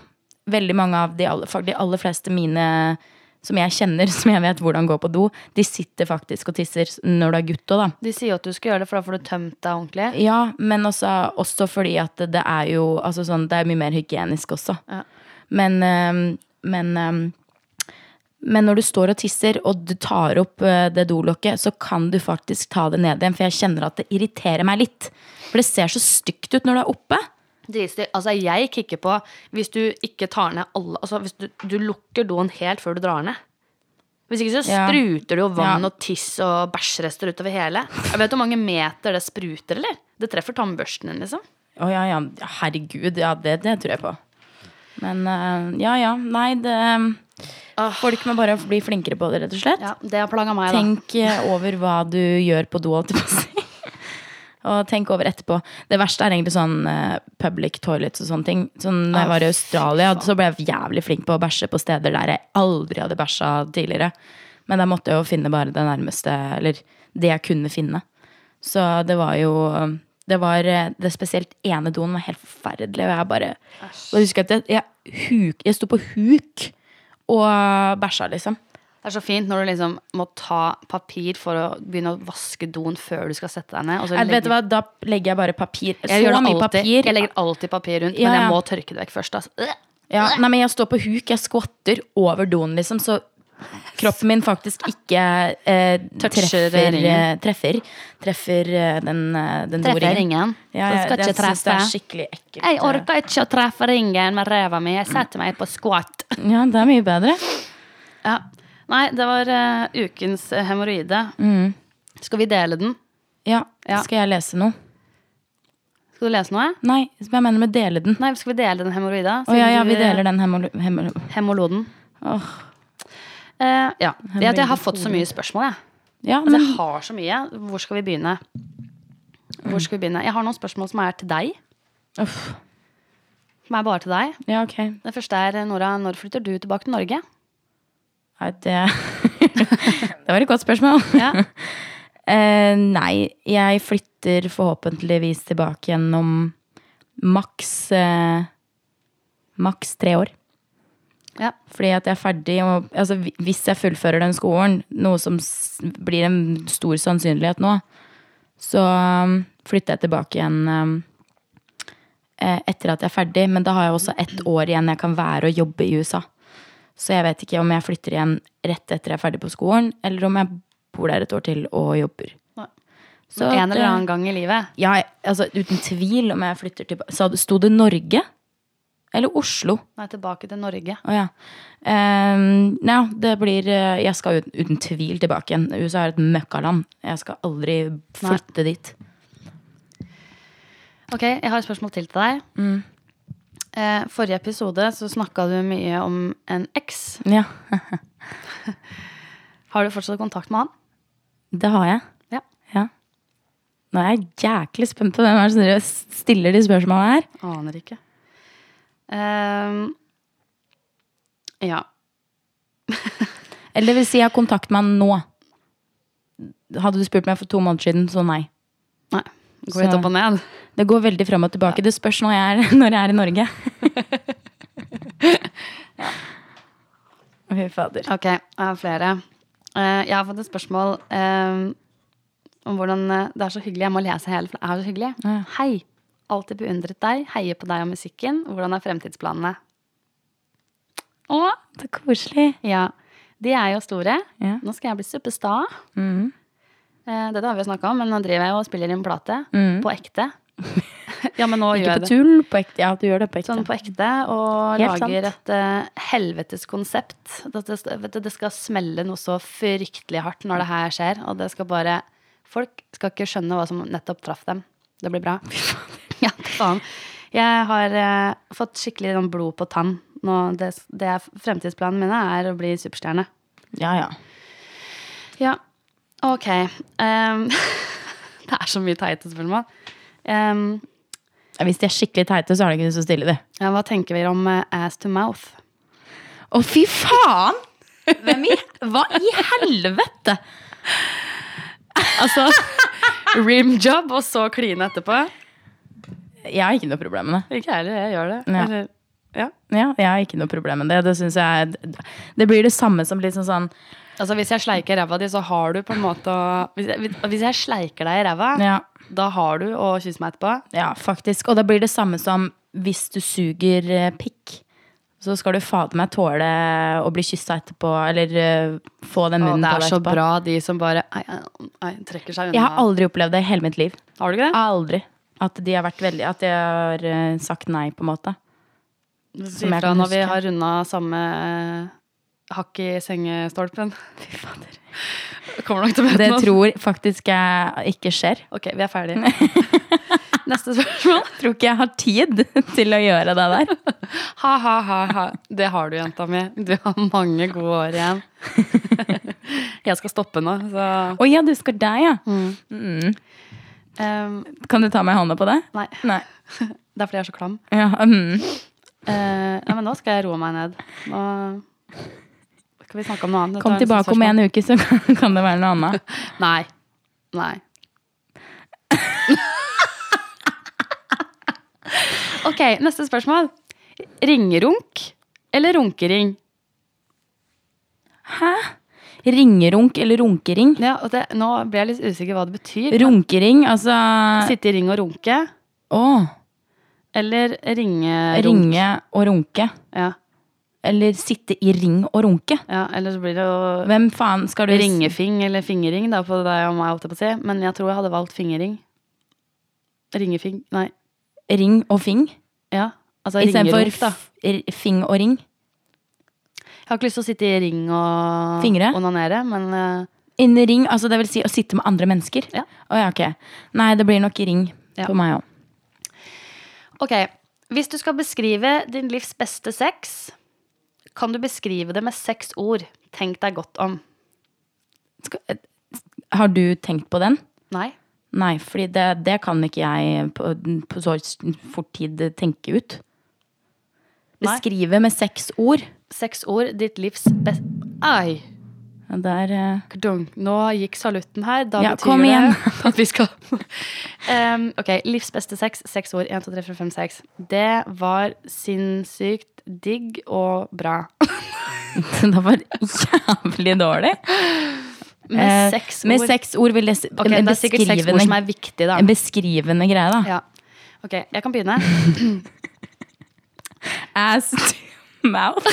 [SPEAKER 2] Veldig mange av de aller, de aller fleste mine som jeg kjenner, som jeg vet hvordan går på do, de sitter faktisk og tisser s- når du er gutt òg, da.
[SPEAKER 1] De sier jo at du skal gjøre det, for da får du tømt deg ordentlig.
[SPEAKER 2] Ja, men også, også fordi at det er jo altså sånn, Det er mye mer hygienisk også.
[SPEAKER 1] Ja.
[SPEAKER 2] Men, ehm, men ehm, men når du står og tisser, og du tar opp eh, det dolokket, så kan du faktisk ta det ned igjen, for jeg kjenner at det irriterer meg litt. For det ser så stygt ut når du er oppe.
[SPEAKER 1] Dritstyr. Altså, jeg kikker på hvis du ikke tar ned alle Altså, hvis du, du lukker doen helt før du drar ned. Hvis ikke så
[SPEAKER 2] Ja.
[SPEAKER 1] spruter det jo vann
[SPEAKER 2] Ja.
[SPEAKER 1] og tiss og bæsjrester utover hele. Jeg vet hvor mange meter det spruter, eller? Det treffer tannbørsten din, liksom.
[SPEAKER 2] Å ja, ja, herregud, ja, det, det tror jeg på. Men eh, ja, ja, nei, det ehm, Folk må bare bli flinkere på det, rett og slett.
[SPEAKER 1] Ja, det har plaga meg, da.
[SPEAKER 2] Tenk eh, over hva du gjør på do, holdt jeg på å si. Og tenk over etterpå. Det verste er egentlig sånn eh, public toilets og sånne ting. Sånn, når jeg var i Australia, så ble jeg jævlig flink på å bæsje på steder der jeg aldri hadde bæsja tidligere. Men der måtte jeg jo finne bare det nærmeste, eller det jeg kunne finne. Så det var jo Det var eh, det spesielt ene doen var helt forferdelig, og jeg bare Og jeg husker at jeg, jeg, huk, jeg sto på huk og bæsja, liksom.
[SPEAKER 1] Det er så fint når du liksom må ta papir for å begynne å vaske doen før du skal sette deg ned. Og så
[SPEAKER 2] Jeg, vet du
[SPEAKER 1] legger,
[SPEAKER 2] hva, da legger jeg bare papir.
[SPEAKER 1] jeg,
[SPEAKER 2] så
[SPEAKER 1] gjør det
[SPEAKER 2] mye
[SPEAKER 1] alltid.
[SPEAKER 2] papir.
[SPEAKER 1] jeg legger alltid papir rundt,
[SPEAKER 2] Ja,
[SPEAKER 1] men
[SPEAKER 2] ja.
[SPEAKER 1] jeg må tørke det vekk først. Altså. Øh.
[SPEAKER 2] ja, nei, men jeg står på huk, jeg skvatter over doen, liksom, så kroppen min faktisk ikke eh,
[SPEAKER 1] Toucher
[SPEAKER 2] treffer,
[SPEAKER 1] ringen.
[SPEAKER 2] eh, treffer, treffer eh, den, eh, den
[SPEAKER 1] Treffer
[SPEAKER 2] doringen.
[SPEAKER 1] ringen.
[SPEAKER 2] Ja,
[SPEAKER 1] Den
[SPEAKER 2] ja,
[SPEAKER 1] skal ikke
[SPEAKER 2] jeg synes det er
[SPEAKER 1] treffe.
[SPEAKER 2] skikkelig ekkelt.
[SPEAKER 1] Jeg orker ikke å treffe ringen med ræva mi. Jeg setter meg på squat.
[SPEAKER 2] eh, Ja, det er mye bedre.
[SPEAKER 1] Ja. Nei, det var eh, ukens eh, hemoroide. Skal vi dele den?
[SPEAKER 2] Mm. Ja,
[SPEAKER 1] Ja.
[SPEAKER 2] skal jeg lese noe?
[SPEAKER 1] Skal du lese noe?
[SPEAKER 2] Nei, hva mener du med dele den?
[SPEAKER 1] Nei, skal vi dele den hemoroida? eh,
[SPEAKER 2] Å ja, ja, vi deler den hemmel... hemmel
[SPEAKER 1] Hemoloden.
[SPEAKER 2] åh.
[SPEAKER 1] Eh, ja. Det at jeg har fått så mye spørsmål, jeg.
[SPEAKER 2] Ja,
[SPEAKER 1] Altså,
[SPEAKER 2] men
[SPEAKER 1] jeg har så mye. Hvor skal vi begynne? Hvor skal vi begynne? Jeg har noen spørsmål som er til deg.
[SPEAKER 2] uff.
[SPEAKER 1] Som er bare til deg.
[SPEAKER 2] Ja, ok.
[SPEAKER 1] Det første er eh, Nora, når flytter du tilbake til Norge?
[SPEAKER 2] Nei, det Det var et godt spørsmål.
[SPEAKER 1] Ja.
[SPEAKER 2] Eh, nei, jeg flytter forhåpentligvis tilbake igjen om maks eh, Maks tre år.
[SPEAKER 1] Ja.
[SPEAKER 2] Fordi at jeg er ferdig og, altså, hvi- Hvis jeg fullfører den skolen, noe som s blir en stor sannsynlighet nå, så um, flytter jeg tilbake igjen um, eh, etter at jeg er ferdig. Men da har jeg også ett år igjen jeg kan være og jobbe i USA. Så jeg vet ikke om jeg flytter igjen rett etter jeg er ferdig på skolen, eller om jeg bor der et år til og jobber.
[SPEAKER 1] Nei.
[SPEAKER 2] Så eh,
[SPEAKER 1] en
[SPEAKER 2] det-
[SPEAKER 1] eller annen gang i livet.
[SPEAKER 2] Ja, jeg- altså uten tvil om jeg flytter tilbake. Sa- Sto det Norge? Eller Oslo?
[SPEAKER 1] Nei, tilbake til Norge.
[SPEAKER 2] Å ja. Ehm, ja, det blir eh, Jeg skal ut- uten tvil tilbake igjen. USA er et møkkaland. Jeg skal aldri flytte dit.
[SPEAKER 1] Ok, jeg har et spørsmål til til deg. Eh, forrige episode så snakka du mye om en eks.
[SPEAKER 2] Ja,
[SPEAKER 1] Har du fortsatt kontakt med han?
[SPEAKER 2] det har jeg.
[SPEAKER 1] Ja.
[SPEAKER 2] Ja. Nå er jeg jæklig spent på hvem er det som driver og s- stiller de spørsmålene her.
[SPEAKER 1] Aner ikke. Ehm, ja.
[SPEAKER 2] Eller det vil si, jeg har kontakt med han nå. Hadde du spurt meg for to måneder siden, så nei.
[SPEAKER 1] Nei. Går litt
[SPEAKER 2] Så-
[SPEAKER 1] opp og ned.
[SPEAKER 2] Det går veldig fram og tilbake. Det spørs når jeg er, når jeg er i Norge. Fy fader.
[SPEAKER 1] Ok, jeg har flere. Eh, jeg har fått et spørsmål ehm, om hvordan eh, Det er så hyggelig. Jeg må lese hele, for det er så hyggelig.
[SPEAKER 2] Ja.
[SPEAKER 1] Hei. Alltid beundret deg. Heier på deg og musikken. Hvordan er fremtidsplanene? Å,
[SPEAKER 2] Så koselig.
[SPEAKER 1] ja. De er jo store.
[SPEAKER 2] Ja.
[SPEAKER 1] Nå skal jeg bli superstar.
[SPEAKER 2] Mm.
[SPEAKER 1] Eh, Dette har vi jo snakka om, men nå driver jeg jo og spiller inn plate. På ekte. ja, men nå gjør
[SPEAKER 2] Mm. Ikke
[SPEAKER 1] jeg
[SPEAKER 2] på
[SPEAKER 1] det.
[SPEAKER 2] tull, på ekte. Ja, du gjør det på ekte.
[SPEAKER 1] Sånn på ekte, og
[SPEAKER 2] Helt
[SPEAKER 1] lager
[SPEAKER 2] sant.
[SPEAKER 1] et eh, helvetes konsept. Det, det, vet du, det skal smelle noe så fryktelig hardt når det her skjer, og det skal bare Folk skal ikke skjønne hva som nettopp traff dem. Det blir bra. Ja, det faen. Jeg har eh, fått skikkelig sånn blod på tann. Nå, det, det er fremtidsplanen min er å bli superstjerne.
[SPEAKER 2] Ja, ja.
[SPEAKER 1] Ja, ok. Em, det er så mye teite spørsmål. Em,
[SPEAKER 2] Hvis de er skikkelig teite, så har de ikke lyst til å stille de.
[SPEAKER 1] ja, hva tenker vi om eh, ass to mouth?
[SPEAKER 2] Å, fy faen! Hvem i Hva i helvete?
[SPEAKER 1] Altså rim job, og så kline etterpå?
[SPEAKER 2] Jeg har ikke noe problem med det.
[SPEAKER 1] Ikke jeg heller, jeg gjør det.
[SPEAKER 2] Ja.
[SPEAKER 1] Eller- ja.
[SPEAKER 2] Ja, jeg har ikke noe problem med det. Det synes jeg er- Det blir det samme som liksom sånn
[SPEAKER 1] Altså Hvis jeg sleiker ræva di, så har du på en måte å Hvis jeg, hvis jeg sleiker deg i ræva,
[SPEAKER 2] Ja.
[SPEAKER 1] da har du å kysse meg etterpå.
[SPEAKER 2] Ja, faktisk. Og da blir det samme som hvis du suger eh, pikk. Så skal du fader meg tåle å bli kyssa etterpå, eller eh, få den
[SPEAKER 1] Og
[SPEAKER 2] munnen
[SPEAKER 1] det
[SPEAKER 2] på
[SPEAKER 1] er
[SPEAKER 2] deg
[SPEAKER 1] så
[SPEAKER 2] etterpå.
[SPEAKER 1] bra de som bare ei, ei, ei, trekker seg unna.
[SPEAKER 2] Jeg har aldri opplevd det i hele mitt liv.
[SPEAKER 1] Har du ikke det?
[SPEAKER 2] Aldri. At de har vært veldig At jeg har eh, sagt nei, på en måte.
[SPEAKER 1] Si
[SPEAKER 2] som jeg
[SPEAKER 1] fra
[SPEAKER 2] kan
[SPEAKER 1] når vi
[SPEAKER 2] huske.
[SPEAKER 1] har runda samme eh, hakk i sengestolpen. Fy fader. Kommer nok til å møte
[SPEAKER 2] Det
[SPEAKER 1] noen.
[SPEAKER 2] tror faktisk jeg ikke skjer.
[SPEAKER 1] Ok, vi er ferdige. Neste spørsmål.
[SPEAKER 2] Tror ikke jeg har tid til å gjøre det der.
[SPEAKER 1] Ha, ha, ha, ha. Det har du, jenta mi. Du har mange gode år igjen. Jeg skal stoppe nå, så
[SPEAKER 2] Å ja, du skal deg, ja. Mm.
[SPEAKER 1] Em,
[SPEAKER 2] Kan du ta meg i hånda på det?
[SPEAKER 1] Nei.
[SPEAKER 2] Nei.
[SPEAKER 1] Det er fordi jeg er så klam.
[SPEAKER 2] Ja, mm.
[SPEAKER 1] Eh, nei, men nå skal jeg roe meg ned. Nå skal vi snakke om noe annet.
[SPEAKER 2] Kom
[SPEAKER 1] Dette sånn var
[SPEAKER 2] tilbake om
[SPEAKER 1] neste
[SPEAKER 2] en uke, så kan kan det være noe annet.
[SPEAKER 1] spørsmål. Nei. Nei. ok, neste spørsmål. Ringerunk eller runkering?
[SPEAKER 2] Hæ? Ringerunk eller runkering?
[SPEAKER 1] Ja, og det, nå ble jeg litt usikker hva det betyr.
[SPEAKER 2] Runkering, altså
[SPEAKER 1] Sitte i ring og runke,
[SPEAKER 2] Å!
[SPEAKER 1] eller ringerunk?
[SPEAKER 2] Ringe og runke.
[SPEAKER 1] Ja,
[SPEAKER 2] Eller sitte i ring og runke.
[SPEAKER 1] ja, eller så blir det jo
[SPEAKER 2] Hvem faen skal du
[SPEAKER 1] ringefing eller fingering da, på deg og meg, holdt jeg på å si. Men jeg tror jeg hadde valgt fingering. Ringefing, nei.
[SPEAKER 2] Ring og fing?
[SPEAKER 1] Ja, altså
[SPEAKER 2] Istedenfor
[SPEAKER 1] ringerunk, da.
[SPEAKER 2] f- fing og ring.
[SPEAKER 1] Jeg har ikke lyst til å sitte i ring og
[SPEAKER 2] Fingre?
[SPEAKER 1] onanere, men eh,
[SPEAKER 2] In ring, altså det vil si å sitte med andre mennesker.
[SPEAKER 1] Ja.
[SPEAKER 2] Å ja, ok. Nei, det blir nok ring
[SPEAKER 1] Ja.
[SPEAKER 2] for meg òg.
[SPEAKER 1] Ok, hvis du skal beskrive din livs beste sex, kan du beskrive det med seks ord. Tenk deg godt om.
[SPEAKER 2] Skal- eh, Har du tenkt på den?
[SPEAKER 1] Nei.
[SPEAKER 2] Nei, fordi det, det kan ikke jeg på, på så fort tid tenke ut.
[SPEAKER 1] Nei.
[SPEAKER 2] Beskrive med seks ord.
[SPEAKER 1] Seks ord, ditt livs beste Ai!
[SPEAKER 2] Ja, Der eh,
[SPEAKER 1] Kdung. Nå gikk salutten her. Da
[SPEAKER 2] Ja,
[SPEAKER 1] betyr
[SPEAKER 2] kom
[SPEAKER 1] det
[SPEAKER 2] igjen.
[SPEAKER 1] at vi skal Em, Ok, livs beste sex. Seks ord. Én, to, tre, fire, fem, seks. Det var sinnssykt digg og bra.
[SPEAKER 2] Det var jævlig dårlig.
[SPEAKER 1] Med
[SPEAKER 2] Eh,
[SPEAKER 1] seks ord.
[SPEAKER 2] Med seks ord vil jeg s-
[SPEAKER 1] Ok,
[SPEAKER 2] en,
[SPEAKER 1] det er sikkert seks ord som
[SPEAKER 2] beskrivende,
[SPEAKER 1] er viktig, da.
[SPEAKER 2] en beskrivende greie, da.
[SPEAKER 1] Ja. Ok, jeg kan begynne.
[SPEAKER 2] Ass to mouth.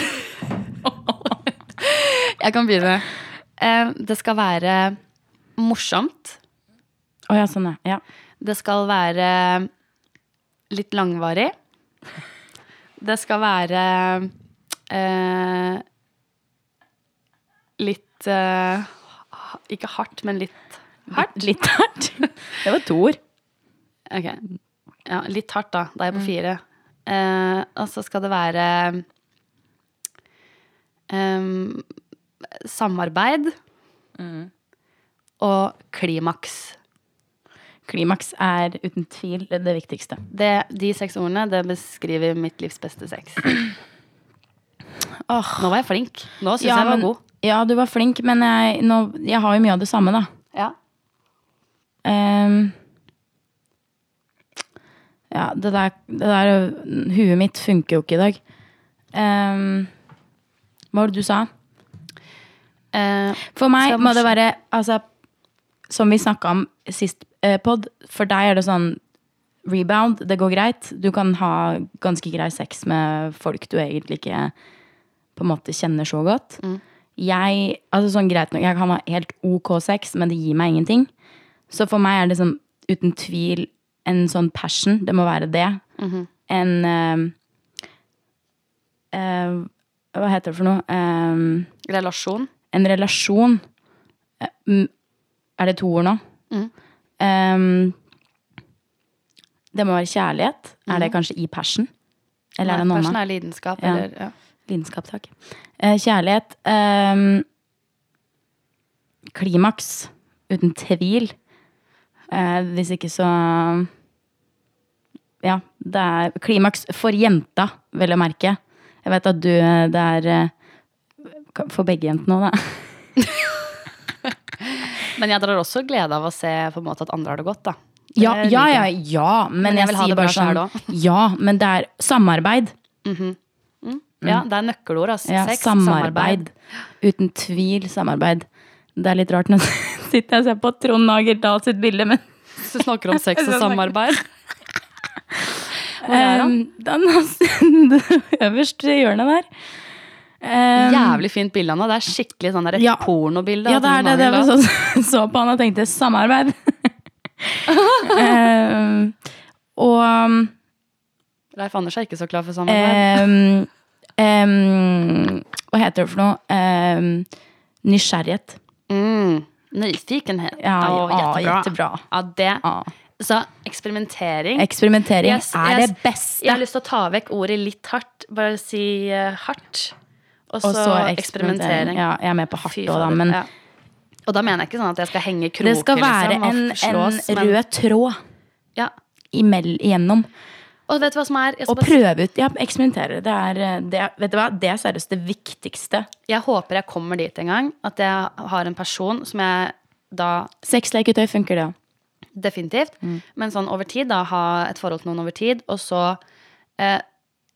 [SPEAKER 1] Jeg kan begynne. Eh, det skal være morsomt.
[SPEAKER 2] Å ja, sånn, ja. ja.
[SPEAKER 1] Det skal være litt langvarig. Det skal være eh, litt eh, Ikke hardt, men litt hardt.
[SPEAKER 2] Litt hardt. Det var to ord.
[SPEAKER 1] Ok. Ja, litt hardt, da. Da er jeg
[SPEAKER 2] Mm.
[SPEAKER 1] på fire. Eh, og så skal det være em, samarbeid
[SPEAKER 2] Mm.
[SPEAKER 1] og klimaks.
[SPEAKER 2] Klimaks er uten tvil det viktigste.
[SPEAKER 1] Det, de seks ordene det beskriver mitt livs beste sex. Nå var jeg flink. Nå syns jeg jeg var
[SPEAKER 2] men-
[SPEAKER 1] god.
[SPEAKER 2] ja, du var flink, men jeg, nå, jeg har jo mye av det samme, da.
[SPEAKER 1] Ja.
[SPEAKER 2] Ehm, ja, det der, det der Huet mitt funker jo ikke i dag. Ehm, hva var det du sa?
[SPEAKER 1] Eh,
[SPEAKER 2] For meg
[SPEAKER 1] Skal
[SPEAKER 2] må det
[SPEAKER 1] morsom-
[SPEAKER 2] være altså, Som vi snakka om sist eh, pod, for deg er det sånn rebound, det går greit. Du kan ha ganske grei sex med folk du egentlig ikke på en måte kjenner så godt.
[SPEAKER 1] Mm.
[SPEAKER 2] Jeg altså sånn greit nok, jeg kan ha helt ok sex, men det gir meg ingenting. Så for meg er det sånn, uten tvil en sånn passion. Det må være det.
[SPEAKER 1] Mm-hmm.
[SPEAKER 2] En eh, eh, Hva heter det for noe? Eh,
[SPEAKER 1] relasjon.
[SPEAKER 2] en relasjon eh, mm, Er det to ord nå? Um, Det må være kjærlighet. Er det kanskje i passion? Eller er det
[SPEAKER 1] Nei,
[SPEAKER 2] noe
[SPEAKER 1] passion
[SPEAKER 2] annet?
[SPEAKER 1] er lidenskap.
[SPEAKER 2] Ja.
[SPEAKER 1] Eller, ja.
[SPEAKER 2] Lidenskap, takk. Eh, kjærlighet. ehm, klimaks. Uten tvil. Eh, hvis ikke så Ja. Det er klimaks for jenta, vel å merke. Jeg vet at du eh, Det er eh, for begge jentene òg, da.
[SPEAKER 1] Men jeg drar også glede av å se på en måte at andre har det godt. da. Det
[SPEAKER 2] Ja, ja,
[SPEAKER 1] liker
[SPEAKER 2] ja,
[SPEAKER 1] jeg.
[SPEAKER 2] ja. Men,
[SPEAKER 1] Eh, Men jeg
[SPEAKER 2] jeg,
[SPEAKER 1] vil ha
[SPEAKER 2] sier
[SPEAKER 1] det bra
[SPEAKER 2] bare sånn
[SPEAKER 1] selv
[SPEAKER 2] Ja, men det er samarbeid.
[SPEAKER 1] ja, det er nøkkelord. Altså.
[SPEAKER 2] Ja,
[SPEAKER 1] Sex,
[SPEAKER 2] samarbeid. Uten tvil samarbeid. Det er litt rart når jeg sitter og ser på Trond Nager Dahl sitt bilde, men
[SPEAKER 1] Du snakker om sex og samarbeid. Hvor er han?
[SPEAKER 2] um, den er øverst i hjørnet der. Um,
[SPEAKER 1] Jævlig fint bilde av ham. Det er skikkelig sånn der, et
[SPEAKER 2] Ja.
[SPEAKER 1] pornobilde.
[SPEAKER 2] Ja,
[SPEAKER 1] av
[SPEAKER 2] det er
[SPEAKER 1] Trond
[SPEAKER 2] det. Det
[SPEAKER 1] Magnus,
[SPEAKER 2] var sånn så på han og tenkte samarbeid. um, og sånn-
[SPEAKER 1] da. Leif Anders er ikke så klar for samarbeid.
[SPEAKER 2] um, um, Hva heter det for noe? Um, nysgjerrighet.
[SPEAKER 1] Mm. Nyfikenhet.
[SPEAKER 2] Ja,
[SPEAKER 1] Å,
[SPEAKER 2] ja,
[SPEAKER 1] jättebra.
[SPEAKER 2] jättebra.
[SPEAKER 1] Ja, det.
[SPEAKER 2] Ja.
[SPEAKER 1] Så eksperimentering
[SPEAKER 2] Eksperimentering
[SPEAKER 1] Ah. Yes,
[SPEAKER 2] er
[SPEAKER 1] yes.
[SPEAKER 2] det beste.
[SPEAKER 1] Jeg har lyst til å ta vekk ordet litt hardt. Bare si eh, hardt. Og så,
[SPEAKER 2] Og så eksperimentering.
[SPEAKER 1] eksperimentering.
[SPEAKER 2] Ja, jeg er med på hardt
[SPEAKER 1] Fy
[SPEAKER 2] òg, da.
[SPEAKER 1] fader,
[SPEAKER 2] Men
[SPEAKER 1] ja. Og da mener jeg ikke sånn at jeg skal henge kroker.
[SPEAKER 2] det skal være
[SPEAKER 1] liksom, og
[SPEAKER 2] en,
[SPEAKER 1] slås,
[SPEAKER 2] en
[SPEAKER 1] men-
[SPEAKER 2] rød tråd
[SPEAKER 1] ja.
[SPEAKER 2] imell, igjennom.
[SPEAKER 1] Og vet du hva som er? Jeg, skal
[SPEAKER 2] Og
[SPEAKER 1] bare
[SPEAKER 2] prøve ut. Ja, eksperimentere. Det er, eh, det, er- vet du hva? det er seriøst det viktigste.
[SPEAKER 1] si- jeg håper jeg kommer dit en gang. At jeg har en person som jeg da
[SPEAKER 2] Sexleketøy funker, det òg.
[SPEAKER 1] definitivt,
[SPEAKER 2] Mm.
[SPEAKER 1] men sånn over tid, da, ha et forhold til noen over tid, og så eh,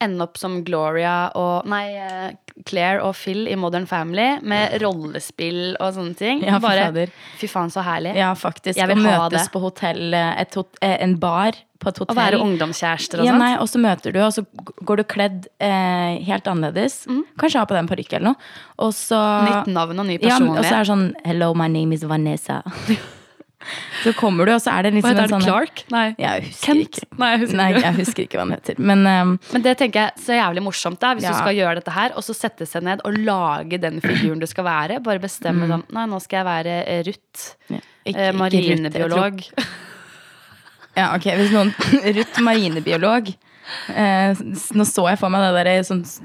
[SPEAKER 1] ende opp som Gloria og Nei, eh, Claire og Phil i Modern Family med rollespill og sånne ting.
[SPEAKER 2] Ja, fy
[SPEAKER 1] Bare
[SPEAKER 2] fader.
[SPEAKER 1] Fy faen, så herlig.
[SPEAKER 2] Ja, faktisk.
[SPEAKER 1] Jeg vil
[SPEAKER 2] å
[SPEAKER 1] ha
[SPEAKER 2] møtes
[SPEAKER 1] det.
[SPEAKER 2] på hotell, eh, et hot, eh, en bar på et hotell.
[SPEAKER 1] Å være ungdomskjærester og sånn.
[SPEAKER 2] Ja,
[SPEAKER 1] sånt.
[SPEAKER 2] nei, og så møter du, og så g- går du kledd eh, helt annerledes. Kanskje ha på deg en parykk eller noe. Og så
[SPEAKER 1] Mm. Nytt navn og ny
[SPEAKER 2] Ja, men- og så
[SPEAKER 1] personlighet.
[SPEAKER 2] er det sånn Hello, my name is Vanessa. så kommer du, og så er det liksom en sånn
[SPEAKER 1] Clark? Nei.
[SPEAKER 2] Jeg husker
[SPEAKER 1] Kent?
[SPEAKER 2] ikke.
[SPEAKER 1] Nei, jeg husker
[SPEAKER 2] Nei,
[SPEAKER 1] ikke.
[SPEAKER 2] jeg husker ikke hva han heter. Men ehm,
[SPEAKER 1] Men det tenker jeg så jævlig morsomt da, hvis
[SPEAKER 2] Ja.
[SPEAKER 1] du skal gjøre dette her, og så sette seg ned og lage den figuren du skal være. Bare
[SPEAKER 2] Mm.
[SPEAKER 1] bestemme sånn Nei, nå skal jeg være eh, Ruth.
[SPEAKER 2] ja, ikke-
[SPEAKER 1] eh,
[SPEAKER 2] ikke Ruth, jeg tror-
[SPEAKER 1] Marinebiolog.
[SPEAKER 2] Ja, ok, Hvis noen Ruth marinebiolog eh, s- Nå så jeg for meg det der sånn s-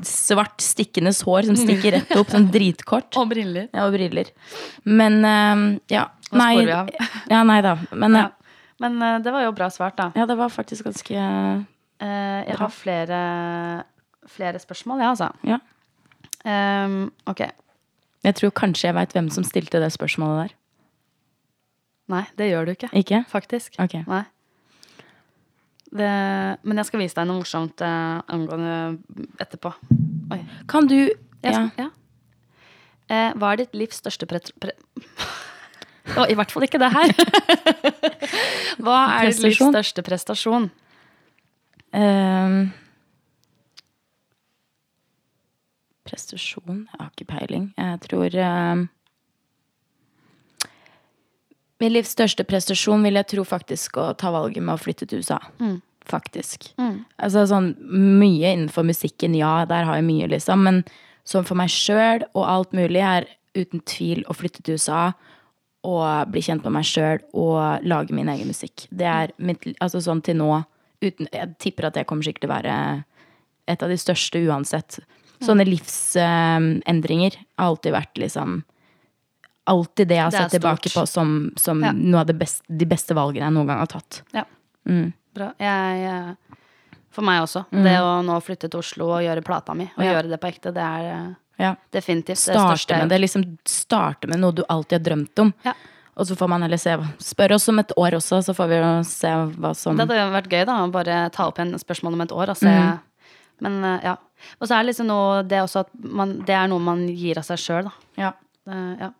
[SPEAKER 2] svart stikkende hår som stikker rett opp, sånn dritkort.
[SPEAKER 1] Og briller.
[SPEAKER 2] Ja, og briller. Men ehm, ja.
[SPEAKER 1] sporer vi av?
[SPEAKER 2] ja, nei da. Men
[SPEAKER 1] Ja.
[SPEAKER 2] ja.
[SPEAKER 1] Men eh, det var jo bra svart, da.
[SPEAKER 2] ja, det var faktisk ganske Ja.
[SPEAKER 1] Eh, jeg har flere, flere spørsmål, jeg, altså. Ehm, ok.
[SPEAKER 2] Jeg tror kanskje jeg veit hvem som stilte det spørsmålet der.
[SPEAKER 1] Nei, det gjør du ikke.
[SPEAKER 2] Ikke?
[SPEAKER 1] Faktisk.
[SPEAKER 2] Ok.
[SPEAKER 1] Nei. Det, men jeg skal vise deg noe morsomt eh, angående etterpå. Oi.
[SPEAKER 2] Kan du
[SPEAKER 1] Jeg
[SPEAKER 2] ja.
[SPEAKER 1] skal- ja. Eh, hva er ditt livs største pret... Pre det var i hvert fall ikke det her. Hva er ditt livs
[SPEAKER 2] Prestasjon?
[SPEAKER 1] største prestasjon?
[SPEAKER 2] ehm, Prestasjon? Jeg har ikke peiling. Jeg tror ehm, Min livs største prestasjon vil jeg tro faktisk å ta valget med å flytte til USA. Faktisk. Altså sånn mye innenfor musikken, ja, der har jeg mye, liksom. Men sånn for meg sjøl og alt mulig er uten tvil å flytte til USA og bli kjent med meg sjøl og lage min egen musikk. Det er mitt Altså sånn til nå uten, Jeg tipper at jeg kommer sikkert til å være et av de største uansett. Sånne livsendringer har alltid vært liksom Alltid det jeg har
[SPEAKER 1] Det er
[SPEAKER 2] sett tilbake på
[SPEAKER 1] stort.
[SPEAKER 2] som, som
[SPEAKER 1] Ja.
[SPEAKER 2] noe av det best, de beste valgene jeg noen gang har tatt.
[SPEAKER 1] Ja.
[SPEAKER 2] Mm.
[SPEAKER 1] Bra. Jeg, eh, for meg også. Det å nå flytte til Oslo og gjøre plata mi, og
[SPEAKER 2] Ja.
[SPEAKER 1] gjøre det på ekte, det er eh,
[SPEAKER 2] Ja.
[SPEAKER 1] definitivt det
[SPEAKER 2] Starte
[SPEAKER 1] største.
[SPEAKER 2] med det, liksom starte med noe du alltid har drømt om.
[SPEAKER 1] Ja.
[SPEAKER 2] Og så får man heller se hva- Spør oss om et år også, så får vi jo se hva som
[SPEAKER 1] Det hadde jo vært gøy da, å bare ta opp igjen spørsmål om et år.
[SPEAKER 2] Mm.
[SPEAKER 1] Altså, Men eh, ja. Og så er det liksom noe, det er også at man, det er noe man gir av seg sjøl, da.
[SPEAKER 2] Ja.
[SPEAKER 1] Det- ja.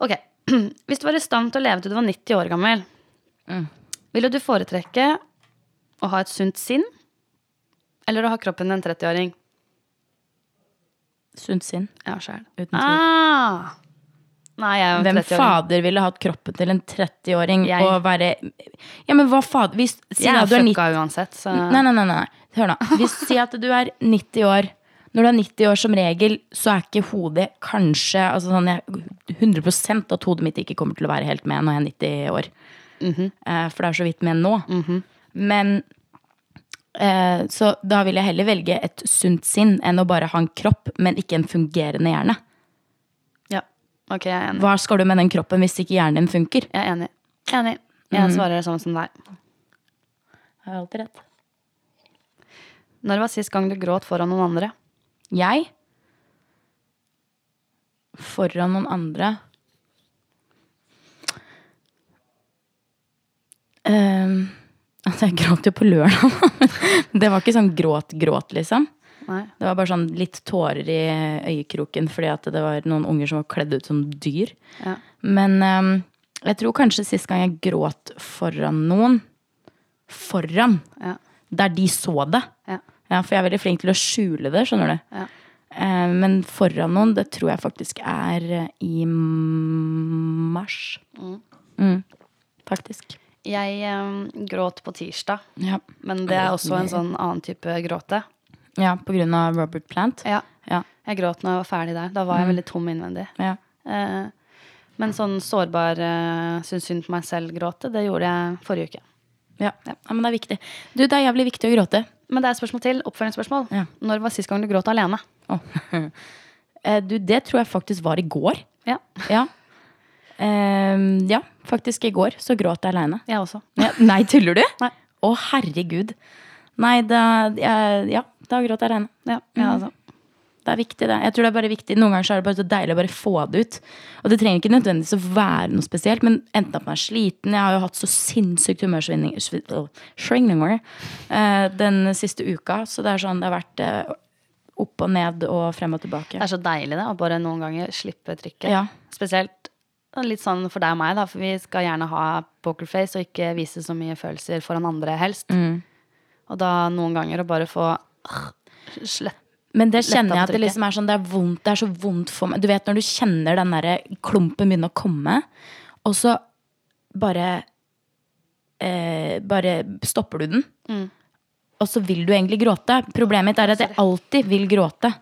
[SPEAKER 1] Ok. Hvis du var i stand til å leve til du var 90 år gammel,
[SPEAKER 2] Mm.
[SPEAKER 1] ville du foretrekke å ha et sunt sinn eller å ha kroppen til en 30-åring?
[SPEAKER 2] Sunt sinn.
[SPEAKER 1] Ja, sjæl.
[SPEAKER 2] Uten tvil.
[SPEAKER 1] Ah! Nei, jeg er jo en
[SPEAKER 2] Hvem
[SPEAKER 1] 30-åring.
[SPEAKER 2] fader ville hatt kroppen til en 30-åring
[SPEAKER 1] Jeg.
[SPEAKER 2] og være Ja, men hva fader Hvis Si
[SPEAKER 1] Jeg
[SPEAKER 2] da
[SPEAKER 1] er
[SPEAKER 2] du er 90
[SPEAKER 1] fucka uansett, så
[SPEAKER 2] Nei, nei, nei. nei. Hør nå. Hvis Si at du er 90 år. Når du er 90 år som regel, så er ikke hodet kanskje altså sånn, jeg, 100 at hodet mitt ikke kommer til å være helt med når jeg er 90 år.
[SPEAKER 1] Mhm.
[SPEAKER 2] eh, for det er så vidt menn nå. Men eh, Så da vil jeg heller velge et sunt sinn enn å bare ha en kropp, men ikke en fungerende hjerne.
[SPEAKER 1] Ja. Ok, jeg er enig.
[SPEAKER 2] Hva skal du med den kroppen hvis ikke hjernen din funker?
[SPEAKER 1] Jeg er enig. Enig. Jeg
[SPEAKER 2] Mm.
[SPEAKER 1] svarer sånn som deg.
[SPEAKER 2] Jeg har alltid rett.
[SPEAKER 1] Når var sist gang du gråt foran noen andre?
[SPEAKER 2] Jeg foran noen andre Ehm, Altså, jeg gråt jo på lørdag. det var ikke sånn gråt-gråt, liksom.
[SPEAKER 1] Nei.
[SPEAKER 2] Det var bare sånn litt tårer i øyekroken fordi at det var noen unger som var kledd ut som dyr.
[SPEAKER 1] Ja.
[SPEAKER 2] Men ehm, jeg tror kanskje sist gang jeg gråt foran noen Foran!
[SPEAKER 1] Ja.
[SPEAKER 2] Der de så det.
[SPEAKER 1] Ja.
[SPEAKER 2] Ja, for jeg er veldig flink til å skjule det, skjønner du.
[SPEAKER 1] Ja.
[SPEAKER 2] Eh, men foran noen, det tror jeg faktisk er eh, i m- mars. Mm. Faktisk.
[SPEAKER 1] Jeg eh, gråt på tirsdag,
[SPEAKER 2] Ja.
[SPEAKER 1] men det er også en sånn annen type gråte.
[SPEAKER 2] ja, på grunn av Robert Plant.
[SPEAKER 1] Ja.
[SPEAKER 2] Ja. Mm.
[SPEAKER 1] Jeg gråt når jeg var ferdig der. Da var jeg veldig tom innvendig.
[SPEAKER 2] Ja.
[SPEAKER 1] Eh, men sånn sårbar, eh, syns synd på meg selv-gråte, det gjorde jeg forrige uke.
[SPEAKER 2] Ja. ja, men det er viktig. Du, det er jævlig viktig å gråte.
[SPEAKER 1] Men det er et spørsmål til. Oppfølgingsspørsmål.
[SPEAKER 2] Ja.
[SPEAKER 1] Når var sist gang du gråt alene?
[SPEAKER 2] Å. Eh, du, det tror jeg faktisk var i går.
[SPEAKER 1] Ja,
[SPEAKER 2] Ja. Ehm, ja, faktisk i går så gråt jeg aleine.
[SPEAKER 1] jeg også.
[SPEAKER 2] Ja, nei, tuller du?
[SPEAKER 1] Nei.
[SPEAKER 2] Å, herregud. Nei, da, jeg- ja, da gråt jeg aleine.
[SPEAKER 1] Ja, jeg også.
[SPEAKER 2] altså, Det er viktig, det. Jeg tror det er bare viktig. Noen ganger så er det bare så deilig å bare få det ut. Og det trenger ikke nødvendigvis å være noe spesielt, men enten at man er sliten Jeg har jo hatt så sinnssykt humørsvingninger svi- åh, svingninger, eh, den siste uka, så det er sånn det har vært eh, opp og ned og frem og
[SPEAKER 1] Det
[SPEAKER 2] tilbake.
[SPEAKER 1] er så deilig det, å bare noen ganger slippe trykket.
[SPEAKER 2] Ja.
[SPEAKER 1] Spesielt litt sånn for deg og meg, da, for vi skal gjerne ha pokerface og ikke vise så mye følelser foran andre, helst.
[SPEAKER 2] Mm.
[SPEAKER 1] Og da noen ganger å bare få ah, slett
[SPEAKER 2] Men det kjenner jeg at det
[SPEAKER 1] avtrykket.
[SPEAKER 2] liksom er sånn, det er vondt, det er så vondt for meg. Du vet når du kjenner den derre klumpen begynne å komme, og så bare eh, Bare stopper du den.
[SPEAKER 1] Mm.
[SPEAKER 2] Og så vil du egentlig gråte. Problemet mitt er at jeg alltid vil gråte.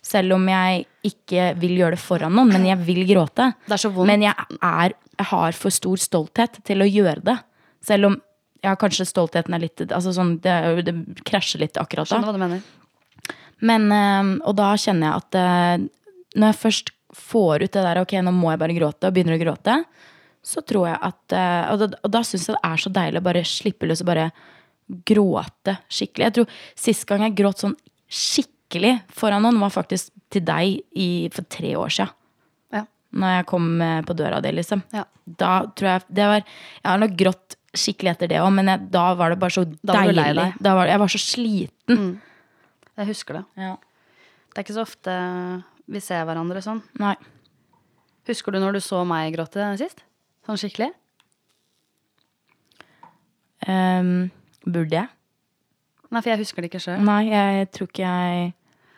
[SPEAKER 2] Selv om jeg ikke vil gjøre det foran noen, men jeg vil gråte.
[SPEAKER 1] Det er så vondt.
[SPEAKER 2] Men jeg, er, jeg har for stor stolthet til å gjøre det. Selv om ja, kanskje stoltheten er litt altså sånn, det, er jo- det krasjer litt akkurat da.
[SPEAKER 1] Skjønner hva du mener.
[SPEAKER 2] Men, eh, og da kjenner jeg at eh, når jeg først får ut det der ok, nå må jeg bare gråte, og begynner å gråte, så tror jeg at eh, Og da, og da syns jeg det er så deilig å bare slippe løs og bare gråte skikkelig. Jeg tror Sist gang jeg gråt sånn skikkelig foran noen, var faktisk til deg i, for tre år sia.
[SPEAKER 1] Ja.
[SPEAKER 2] Når jeg kom eh, på døra di, liksom.
[SPEAKER 1] Ja.
[SPEAKER 2] Da tror jeg det var Jeg har nok grått skikkelig etter det òg, men jeg, da var det bare så
[SPEAKER 1] Da var du
[SPEAKER 2] deilig.
[SPEAKER 1] lei deg.
[SPEAKER 2] Da var, jeg var så sliten.
[SPEAKER 1] Jeg husker det. Det er ikke så ofte vi ser hverandre sånn.
[SPEAKER 2] Nei.
[SPEAKER 1] Husker du når du så meg gråte sist? Sånn skikkelig?
[SPEAKER 2] Ehm, burde jeg?
[SPEAKER 1] Nei, for jeg husker det ikke sjøl.
[SPEAKER 2] Nei, jeg tror ikke jeg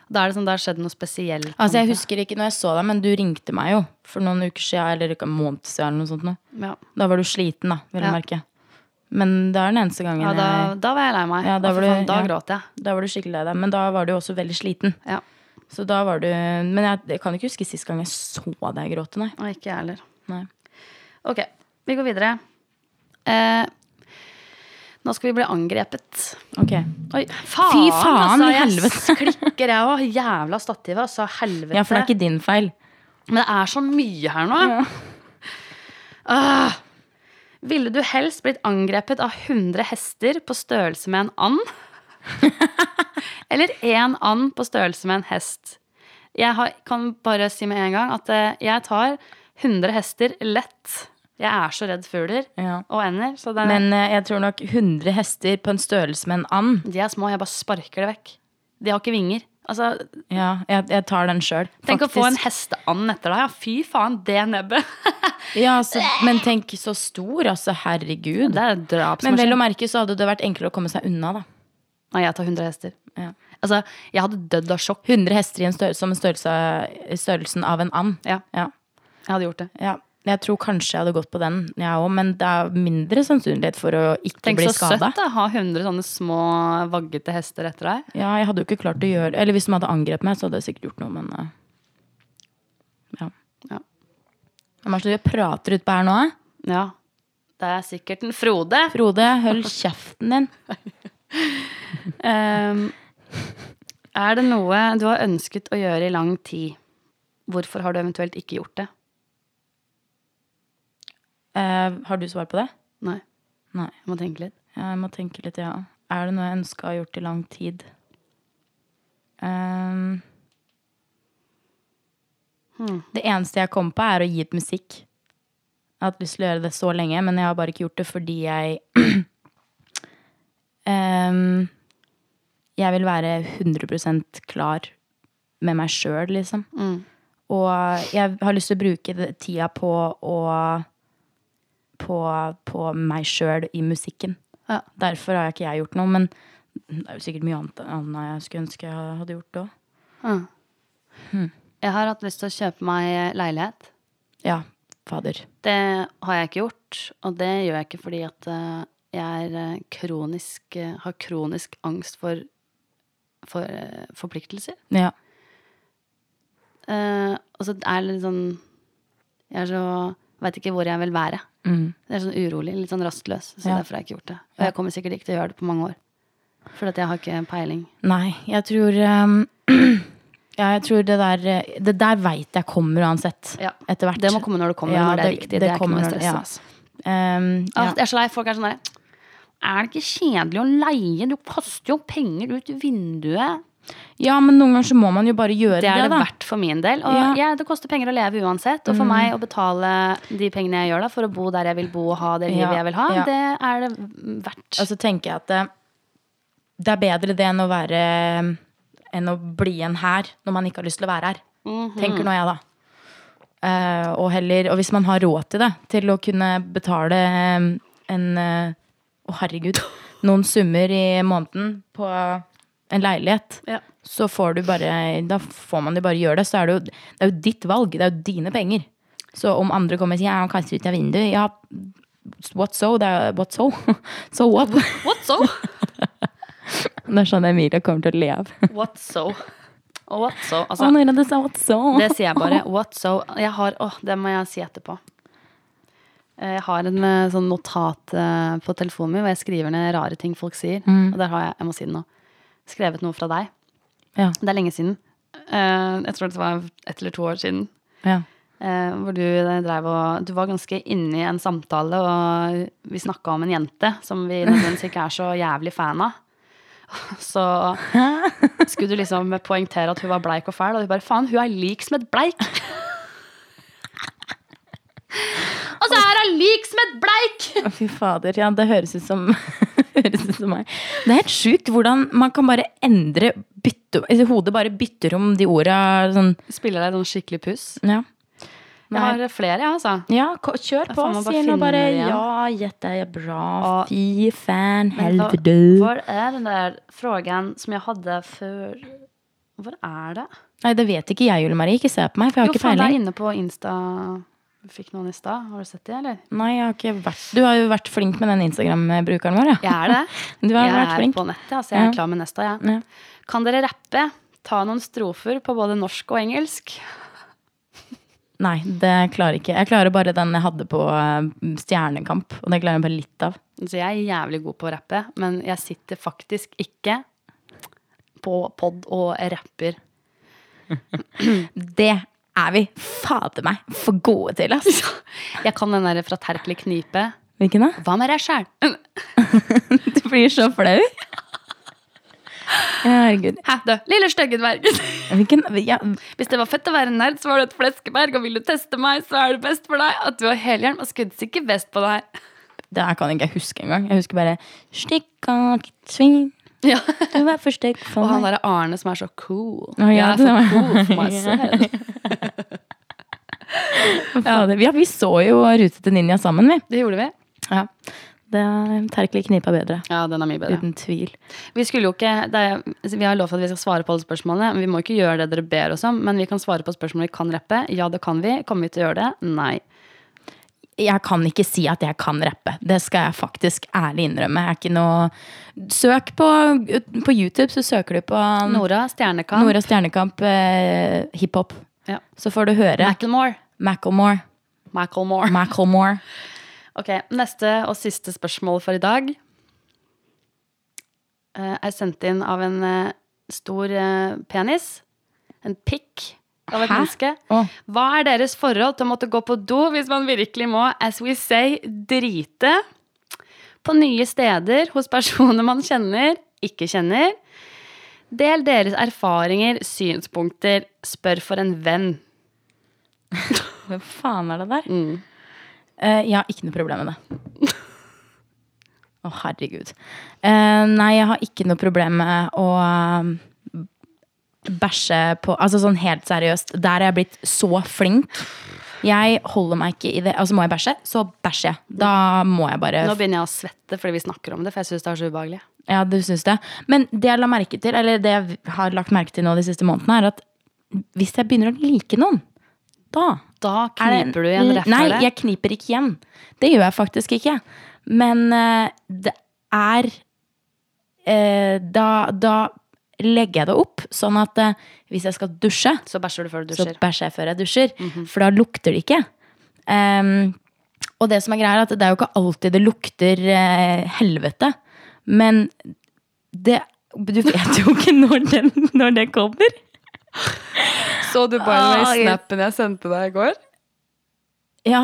[SPEAKER 1] Da er det sånn, det har skjedd noe spesielt. på en
[SPEAKER 2] Altså, jeg
[SPEAKER 1] måte.
[SPEAKER 2] husker ikke når jeg så deg, men du ringte meg jo for noen uker siden, eller ikke en måned siden, eller noe sånt nå.
[SPEAKER 1] Ja,
[SPEAKER 2] Da var du sliten, da, vil jeg
[SPEAKER 1] Ja.
[SPEAKER 2] merke. Men det er den eneste gangen
[SPEAKER 1] ja da,
[SPEAKER 2] jeg
[SPEAKER 1] da var jeg lei meg.
[SPEAKER 2] Ja, da
[SPEAKER 1] Å, for
[SPEAKER 2] var du-
[SPEAKER 1] faen, da
[SPEAKER 2] ja.
[SPEAKER 1] gråt jeg.
[SPEAKER 2] Da var du skikkelig lei deg, men da var du også veldig sliten.
[SPEAKER 1] Ja.
[SPEAKER 2] Så da var du Men jeg, jeg kan ikke huske sist gang jeg så deg gråte, nei.
[SPEAKER 1] Og ikke jeg heller.
[SPEAKER 2] nei.
[SPEAKER 1] Ok, vi går videre. Eh, nå skal vi bli angrepet.
[SPEAKER 2] Ok.
[SPEAKER 1] Oi, faen, altså.
[SPEAKER 2] Fy faen i
[SPEAKER 1] Jeg klikker, jeg òg. Jævla stativet, altså. Helvete.
[SPEAKER 2] Ja, for det er ikke din feil.
[SPEAKER 1] Men det er så mye her nå. Ah. ville du helst blitt angrepet av 100 hester på størrelse med en and? Eller én and på størrelse med en hest? Jeg har, kan bare si med en gang at eh, jeg tar 100 hester lett. Jeg er så redd fugler
[SPEAKER 2] Ja.
[SPEAKER 1] og ender. Så det er,
[SPEAKER 2] Men eh, jeg tror nok 100 hester på en størrelse med en and.
[SPEAKER 1] de er små, jeg bare sparker det vekk. De har ikke vinger. Altså,
[SPEAKER 2] Ja, jeg, jeg tar den sjøl.
[SPEAKER 1] tenk å få en hesteand etter deg. Ja, fy faen, det nebbet.
[SPEAKER 2] Ja, altså, men tenk så stor, altså. Herregud.
[SPEAKER 1] Det er sånn. en
[SPEAKER 2] Men
[SPEAKER 1] drapsmaskin.
[SPEAKER 2] vel å merke så hadde det vært enklere å komme seg unna, da.
[SPEAKER 1] Nei, jeg tar 100 hester.
[SPEAKER 2] Ja.
[SPEAKER 1] Altså, jeg hadde dødd av sjokk.
[SPEAKER 2] 100 hester i en størrelse, som en størrelse, størrelsen av en and.
[SPEAKER 1] Ja,
[SPEAKER 2] Ja,
[SPEAKER 1] jeg hadde gjort det.
[SPEAKER 2] ja. Jeg tror kanskje jeg hadde gått på den, jeg òg, men det er mindre sannsynlighet for å ikke
[SPEAKER 1] Tenk
[SPEAKER 2] bli
[SPEAKER 1] så
[SPEAKER 2] skada.
[SPEAKER 1] søtt da, ha 100 sånne små vaggete hester etter deg.
[SPEAKER 2] Ja, jeg hadde jo ikke klart å gjøre Eller hvis de hadde angrepet meg, så hadde jeg sikkert gjort noe, men eh, Ja.
[SPEAKER 1] Ja.
[SPEAKER 2] Hva er det du prater utpå her nå? eh?
[SPEAKER 1] Ja. Det er sikkert en Frode.
[SPEAKER 2] Frode, hold kjeften din.
[SPEAKER 1] Ehm, er det noe du har ønsket å gjøre i lang tid? Hvorfor har du eventuelt ikke gjort det?
[SPEAKER 2] Eh, har du svar på det?
[SPEAKER 1] Nei,
[SPEAKER 2] Nei.
[SPEAKER 1] jeg må tenke litt.
[SPEAKER 2] Ja, jeg må tenke litt, ja. Er det noe jeg ønska å ha gjort i lang tid? Ehm, Det eneste jeg kom på, er å gi ut musikk. Jeg har hatt lyst til å gjøre det så lenge, men jeg har bare ikke gjort det fordi jeg Ehm, Jeg vil være 100 klar med meg sjøl, liksom.
[SPEAKER 1] Mm.
[SPEAKER 2] Og jeg har lyst til å bruke det- tida på å På, på meg sjøl i musikken.
[SPEAKER 1] Ja.
[SPEAKER 2] Derfor har jeg ikke jeg gjort noe, men det er jo sikkert mye annet, annet jeg skulle ønske jeg hadde gjort òg. Hm.
[SPEAKER 1] Jeg har hatt lyst til å kjøpe meg leilighet.
[SPEAKER 2] Ja, fader.
[SPEAKER 1] Det har jeg ikke gjort, og det gjør jeg ikke fordi at eh, jeg er eh, kronisk, eh, har kronisk angst for, for eh, forpliktelser.
[SPEAKER 2] Ja.
[SPEAKER 1] Eh, og så er det litt sånn Jeg er så veit ikke hvor jeg vil være.
[SPEAKER 2] Mm.
[SPEAKER 1] Jeg er sånn urolig, litt sånn rastløs. Så
[SPEAKER 2] Ja.
[SPEAKER 1] derfor har jeg ikke gjort det. Og jeg kommer sikkert ikke til å gjøre det på mange år. For at jeg har ikke peiling.
[SPEAKER 2] Nei, jeg tror ehm, Ja, jeg tror det der eh, Det der veit jeg kommer uansett.
[SPEAKER 1] Ja.
[SPEAKER 2] Etter hvert.
[SPEAKER 1] Det må komme når det kommer,
[SPEAKER 2] Ja,
[SPEAKER 1] når det er riktig. Det, er ikke
[SPEAKER 2] kommer
[SPEAKER 1] noe
[SPEAKER 2] når det-
[SPEAKER 1] stress.
[SPEAKER 2] ja.
[SPEAKER 1] altså.
[SPEAKER 2] Ehm,
[SPEAKER 1] Åh,
[SPEAKER 2] ja.
[SPEAKER 1] Jeg er så lei. Folk er sånn der Er det ikke kjedelig å leie? Du kaster jo penger ut vinduet.
[SPEAKER 2] ja, men noen ganger så må man jo bare gjøre
[SPEAKER 1] Det er det
[SPEAKER 2] da.
[SPEAKER 1] verdt for min del. Og
[SPEAKER 2] Ja.
[SPEAKER 1] ja. det koster penger å leve uansett. Og for meg å betale de pengene jeg gjør da, for å bo der jeg vil bo og ha det livet
[SPEAKER 2] Ja.
[SPEAKER 1] jeg vil ha,
[SPEAKER 2] Ja. Altså,
[SPEAKER 1] det er det verdt.
[SPEAKER 2] Og så tenker jeg at det, det er bedre det enn å være Enn å bli en her når man ikke har lyst til å være her.
[SPEAKER 1] Mhm.
[SPEAKER 2] Tenker nå jeg, da. Eh, og heller Og hvis man har råd til det, til å kunne betale eh, en eh, Å, herregud. Noen summer i måneden på en leilighet.
[SPEAKER 1] Ja.
[SPEAKER 2] Så får du bare Da får man jo bare gjøre det. Så er det jo Det er jo ditt valg. Det er jo dine penger. Så om andre kommer og sier ja, han kaster ut av vinduet, ja, what so? Det er, what so? so what?
[SPEAKER 1] What so?
[SPEAKER 2] Det er sånn Emilie kommer til å le av.
[SPEAKER 1] What so? Og what so? Altså,
[SPEAKER 2] Å, Nora, du sa what so?
[SPEAKER 1] Det sier jeg bare. What so? Jeg har, åh, det må jeg si etterpå. Eh, Jeg har en eh, sånn notat eh, på telefonen min hvor jeg skriver ned rare ting folk sier. Og der har jeg, jeg må si det nå, skrevet noe fra deg.
[SPEAKER 2] Ja,
[SPEAKER 1] Det er lenge siden. Eh, Jeg tror det var ett eller to år siden.
[SPEAKER 2] ja.
[SPEAKER 1] eh, Hvor du drev og Du var ganske inne i en samtale, og vi snakka om en jente som vi nødvendigvis ikke er så jævlig fan av. Så skulle du liksom poengtere at hun var bleik og fæl, og du bare faen, hun er lik som et bleik! Og så er hun lik som et bleik!
[SPEAKER 2] Å, Fy fader, ja, det høres ut som høres ut som meg. Det er helt sjukt hvordan man kan bare endre bytte, altså, Hodet bare bytter om de orda sånn
[SPEAKER 1] Spiller deg sånn skikkelig puss.
[SPEAKER 2] Ja,
[SPEAKER 1] Jeg har flere, jeg, altså.
[SPEAKER 2] ja ko- kjør på,
[SPEAKER 1] faen, man bare
[SPEAKER 2] sier nå
[SPEAKER 1] finner
[SPEAKER 2] bare
[SPEAKER 1] det igjen.
[SPEAKER 2] Ja, gjett det er bra.
[SPEAKER 1] Å.
[SPEAKER 2] Fy fan,
[SPEAKER 1] Men hva-
[SPEAKER 2] helvete.
[SPEAKER 1] Hvor er den der frågan som jeg hadde før Hvor er det?
[SPEAKER 2] Nei, det vet ikke jeg, Julie Marie. Ikke se på meg, for jeg har
[SPEAKER 1] Jo,
[SPEAKER 2] ikke
[SPEAKER 1] faen, det er
[SPEAKER 2] peiling.
[SPEAKER 1] inne på Insta. Vi fikk noen i stad. Har du sett det, eller?
[SPEAKER 2] Nei, jeg har ikke vært Du har jo vært flink med den Instagram-brukeren vår, ja.
[SPEAKER 1] Jeg er det.
[SPEAKER 2] Du har
[SPEAKER 1] jeg
[SPEAKER 2] vært
[SPEAKER 1] er
[SPEAKER 2] flink.
[SPEAKER 1] på nettet. Altså, jeg er
[SPEAKER 2] Ja.
[SPEAKER 1] klar med neste, jeg.
[SPEAKER 2] Ja.
[SPEAKER 1] Kan dere rappe? Ta noen strofer på både norsk og engelsk.
[SPEAKER 2] Nei, det klarer jeg ikke. Jeg klarer bare den jeg hadde på eh, Stjernekamp. Og det klarer jeg bare litt av.
[SPEAKER 1] Så Altså, jeg er jævlig god på å rappe, men jeg sitter faktisk ikke på pod og rapper.
[SPEAKER 2] Det er vi fader meg for gode til, ass!
[SPEAKER 1] Jeg kan den der fra Terkel i knipe.
[SPEAKER 2] Hvilken da?
[SPEAKER 1] Hva med deg sjæl?
[SPEAKER 2] Du blir så flau. Ja, Herregud.
[SPEAKER 1] Hæ, du? Lille stygge dvergen.
[SPEAKER 2] Hvilken ja,
[SPEAKER 1] Hvis det var fett å være nerd, så var du et fleskeberg, og vil du teste meg, så er det best for deg at du har helhjelm og skuddsikker vest på deg.
[SPEAKER 2] Det her kan jeg ikke huske engang. Jeg husker bare Stikk av ditt svin,
[SPEAKER 1] Ja.
[SPEAKER 2] du er for stygg
[SPEAKER 1] Og
[SPEAKER 2] for
[SPEAKER 1] han
[SPEAKER 2] meg.
[SPEAKER 1] derre Arne som er så cool.
[SPEAKER 2] Å, ja,
[SPEAKER 1] jeg er
[SPEAKER 2] det
[SPEAKER 1] for
[SPEAKER 2] var-
[SPEAKER 1] cool for meg selv.
[SPEAKER 2] Fader, Ja, vi så jo Rute til ninja sammen, vi.
[SPEAKER 1] Det gjorde vi.
[SPEAKER 2] Ja. Det er Terkelig knipa bedre.
[SPEAKER 1] Ja, den er mye bedre.
[SPEAKER 2] Uten tvil.
[SPEAKER 1] Vi skulle jo ikke, det er, altså, vi har lovt at vi skal svare på alle spørsmålene. men Vi må ikke gjøre det dere ber oss om, men vi kan svare på spørsmål vi kan rappe. Ja, det kan vi. Kommer vi til å gjøre det? Nei.
[SPEAKER 2] jeg kan ikke si at jeg kan rappe. Det skal jeg faktisk ærlig innrømme. Jeg er ikke noe Søk på, på YouTube, så søker du på
[SPEAKER 1] Nora Stjernekamp.
[SPEAKER 2] Mm. Nora Stjernekamp eh, hiphop.
[SPEAKER 1] Ja.
[SPEAKER 2] Så får du høre
[SPEAKER 1] Macklemore.
[SPEAKER 2] Macklemore.
[SPEAKER 1] Macklemore.
[SPEAKER 2] Macklemore.
[SPEAKER 1] Ok, Neste og siste spørsmål for i dag eh, er sendt inn av en eh, stor eh, penis. En pikk av et
[SPEAKER 2] Hæ?
[SPEAKER 1] menneske.
[SPEAKER 2] Å.
[SPEAKER 1] Hva er deres forhold til å måtte gå på do hvis man virkelig må, as we say, drite? På nye steder, hos personer man kjenner, ikke kjenner. Del deres erfaringer, synspunkter. Spør for en venn.
[SPEAKER 2] Hva faen er det der?
[SPEAKER 1] Mm.
[SPEAKER 2] Eh, jeg har ikke noe problem med det. Å, herregud. Eh, nei, jeg har ikke noe problem med å eh, bæsje på Altså sånn helt seriøst, der er jeg blitt så flink. Jeg holder meg ikke i det. Altså, må jeg bæsje, så bæsjer jeg. Da må jeg bare
[SPEAKER 1] Nå begynner jeg å svette fordi vi snakker om det, for jeg syns det er så ubehagelig.
[SPEAKER 2] Ja, du syns det. Men det jeg, la merke til, eller det jeg har lagt merke til nå de siste månedene, er at hvis jeg begynner å like noen, da
[SPEAKER 1] Da
[SPEAKER 2] er det-
[SPEAKER 1] kniper du igjen rett
[SPEAKER 2] Nei,
[SPEAKER 1] for det.
[SPEAKER 2] jeg kniper ikke igjen. Det gjør jeg faktisk ikke. Men eh, det er eh, da, da legger jeg det opp, sånn at eh, hvis jeg skal dusje,
[SPEAKER 1] Så bæsjer du før du
[SPEAKER 2] så
[SPEAKER 1] dusjer. Mhm.
[SPEAKER 2] bæsjer jeg før jeg dusjer. For da lukter det ikke. Ehm, og det som er greia, er at det er jo ikke alltid det lukter eh, helvete. Men det Du vet jo ikke når, den, når det kommer.
[SPEAKER 1] Så du
[SPEAKER 2] by the way,
[SPEAKER 1] snappen Ah, jeg sendte deg i går?
[SPEAKER 2] Ja.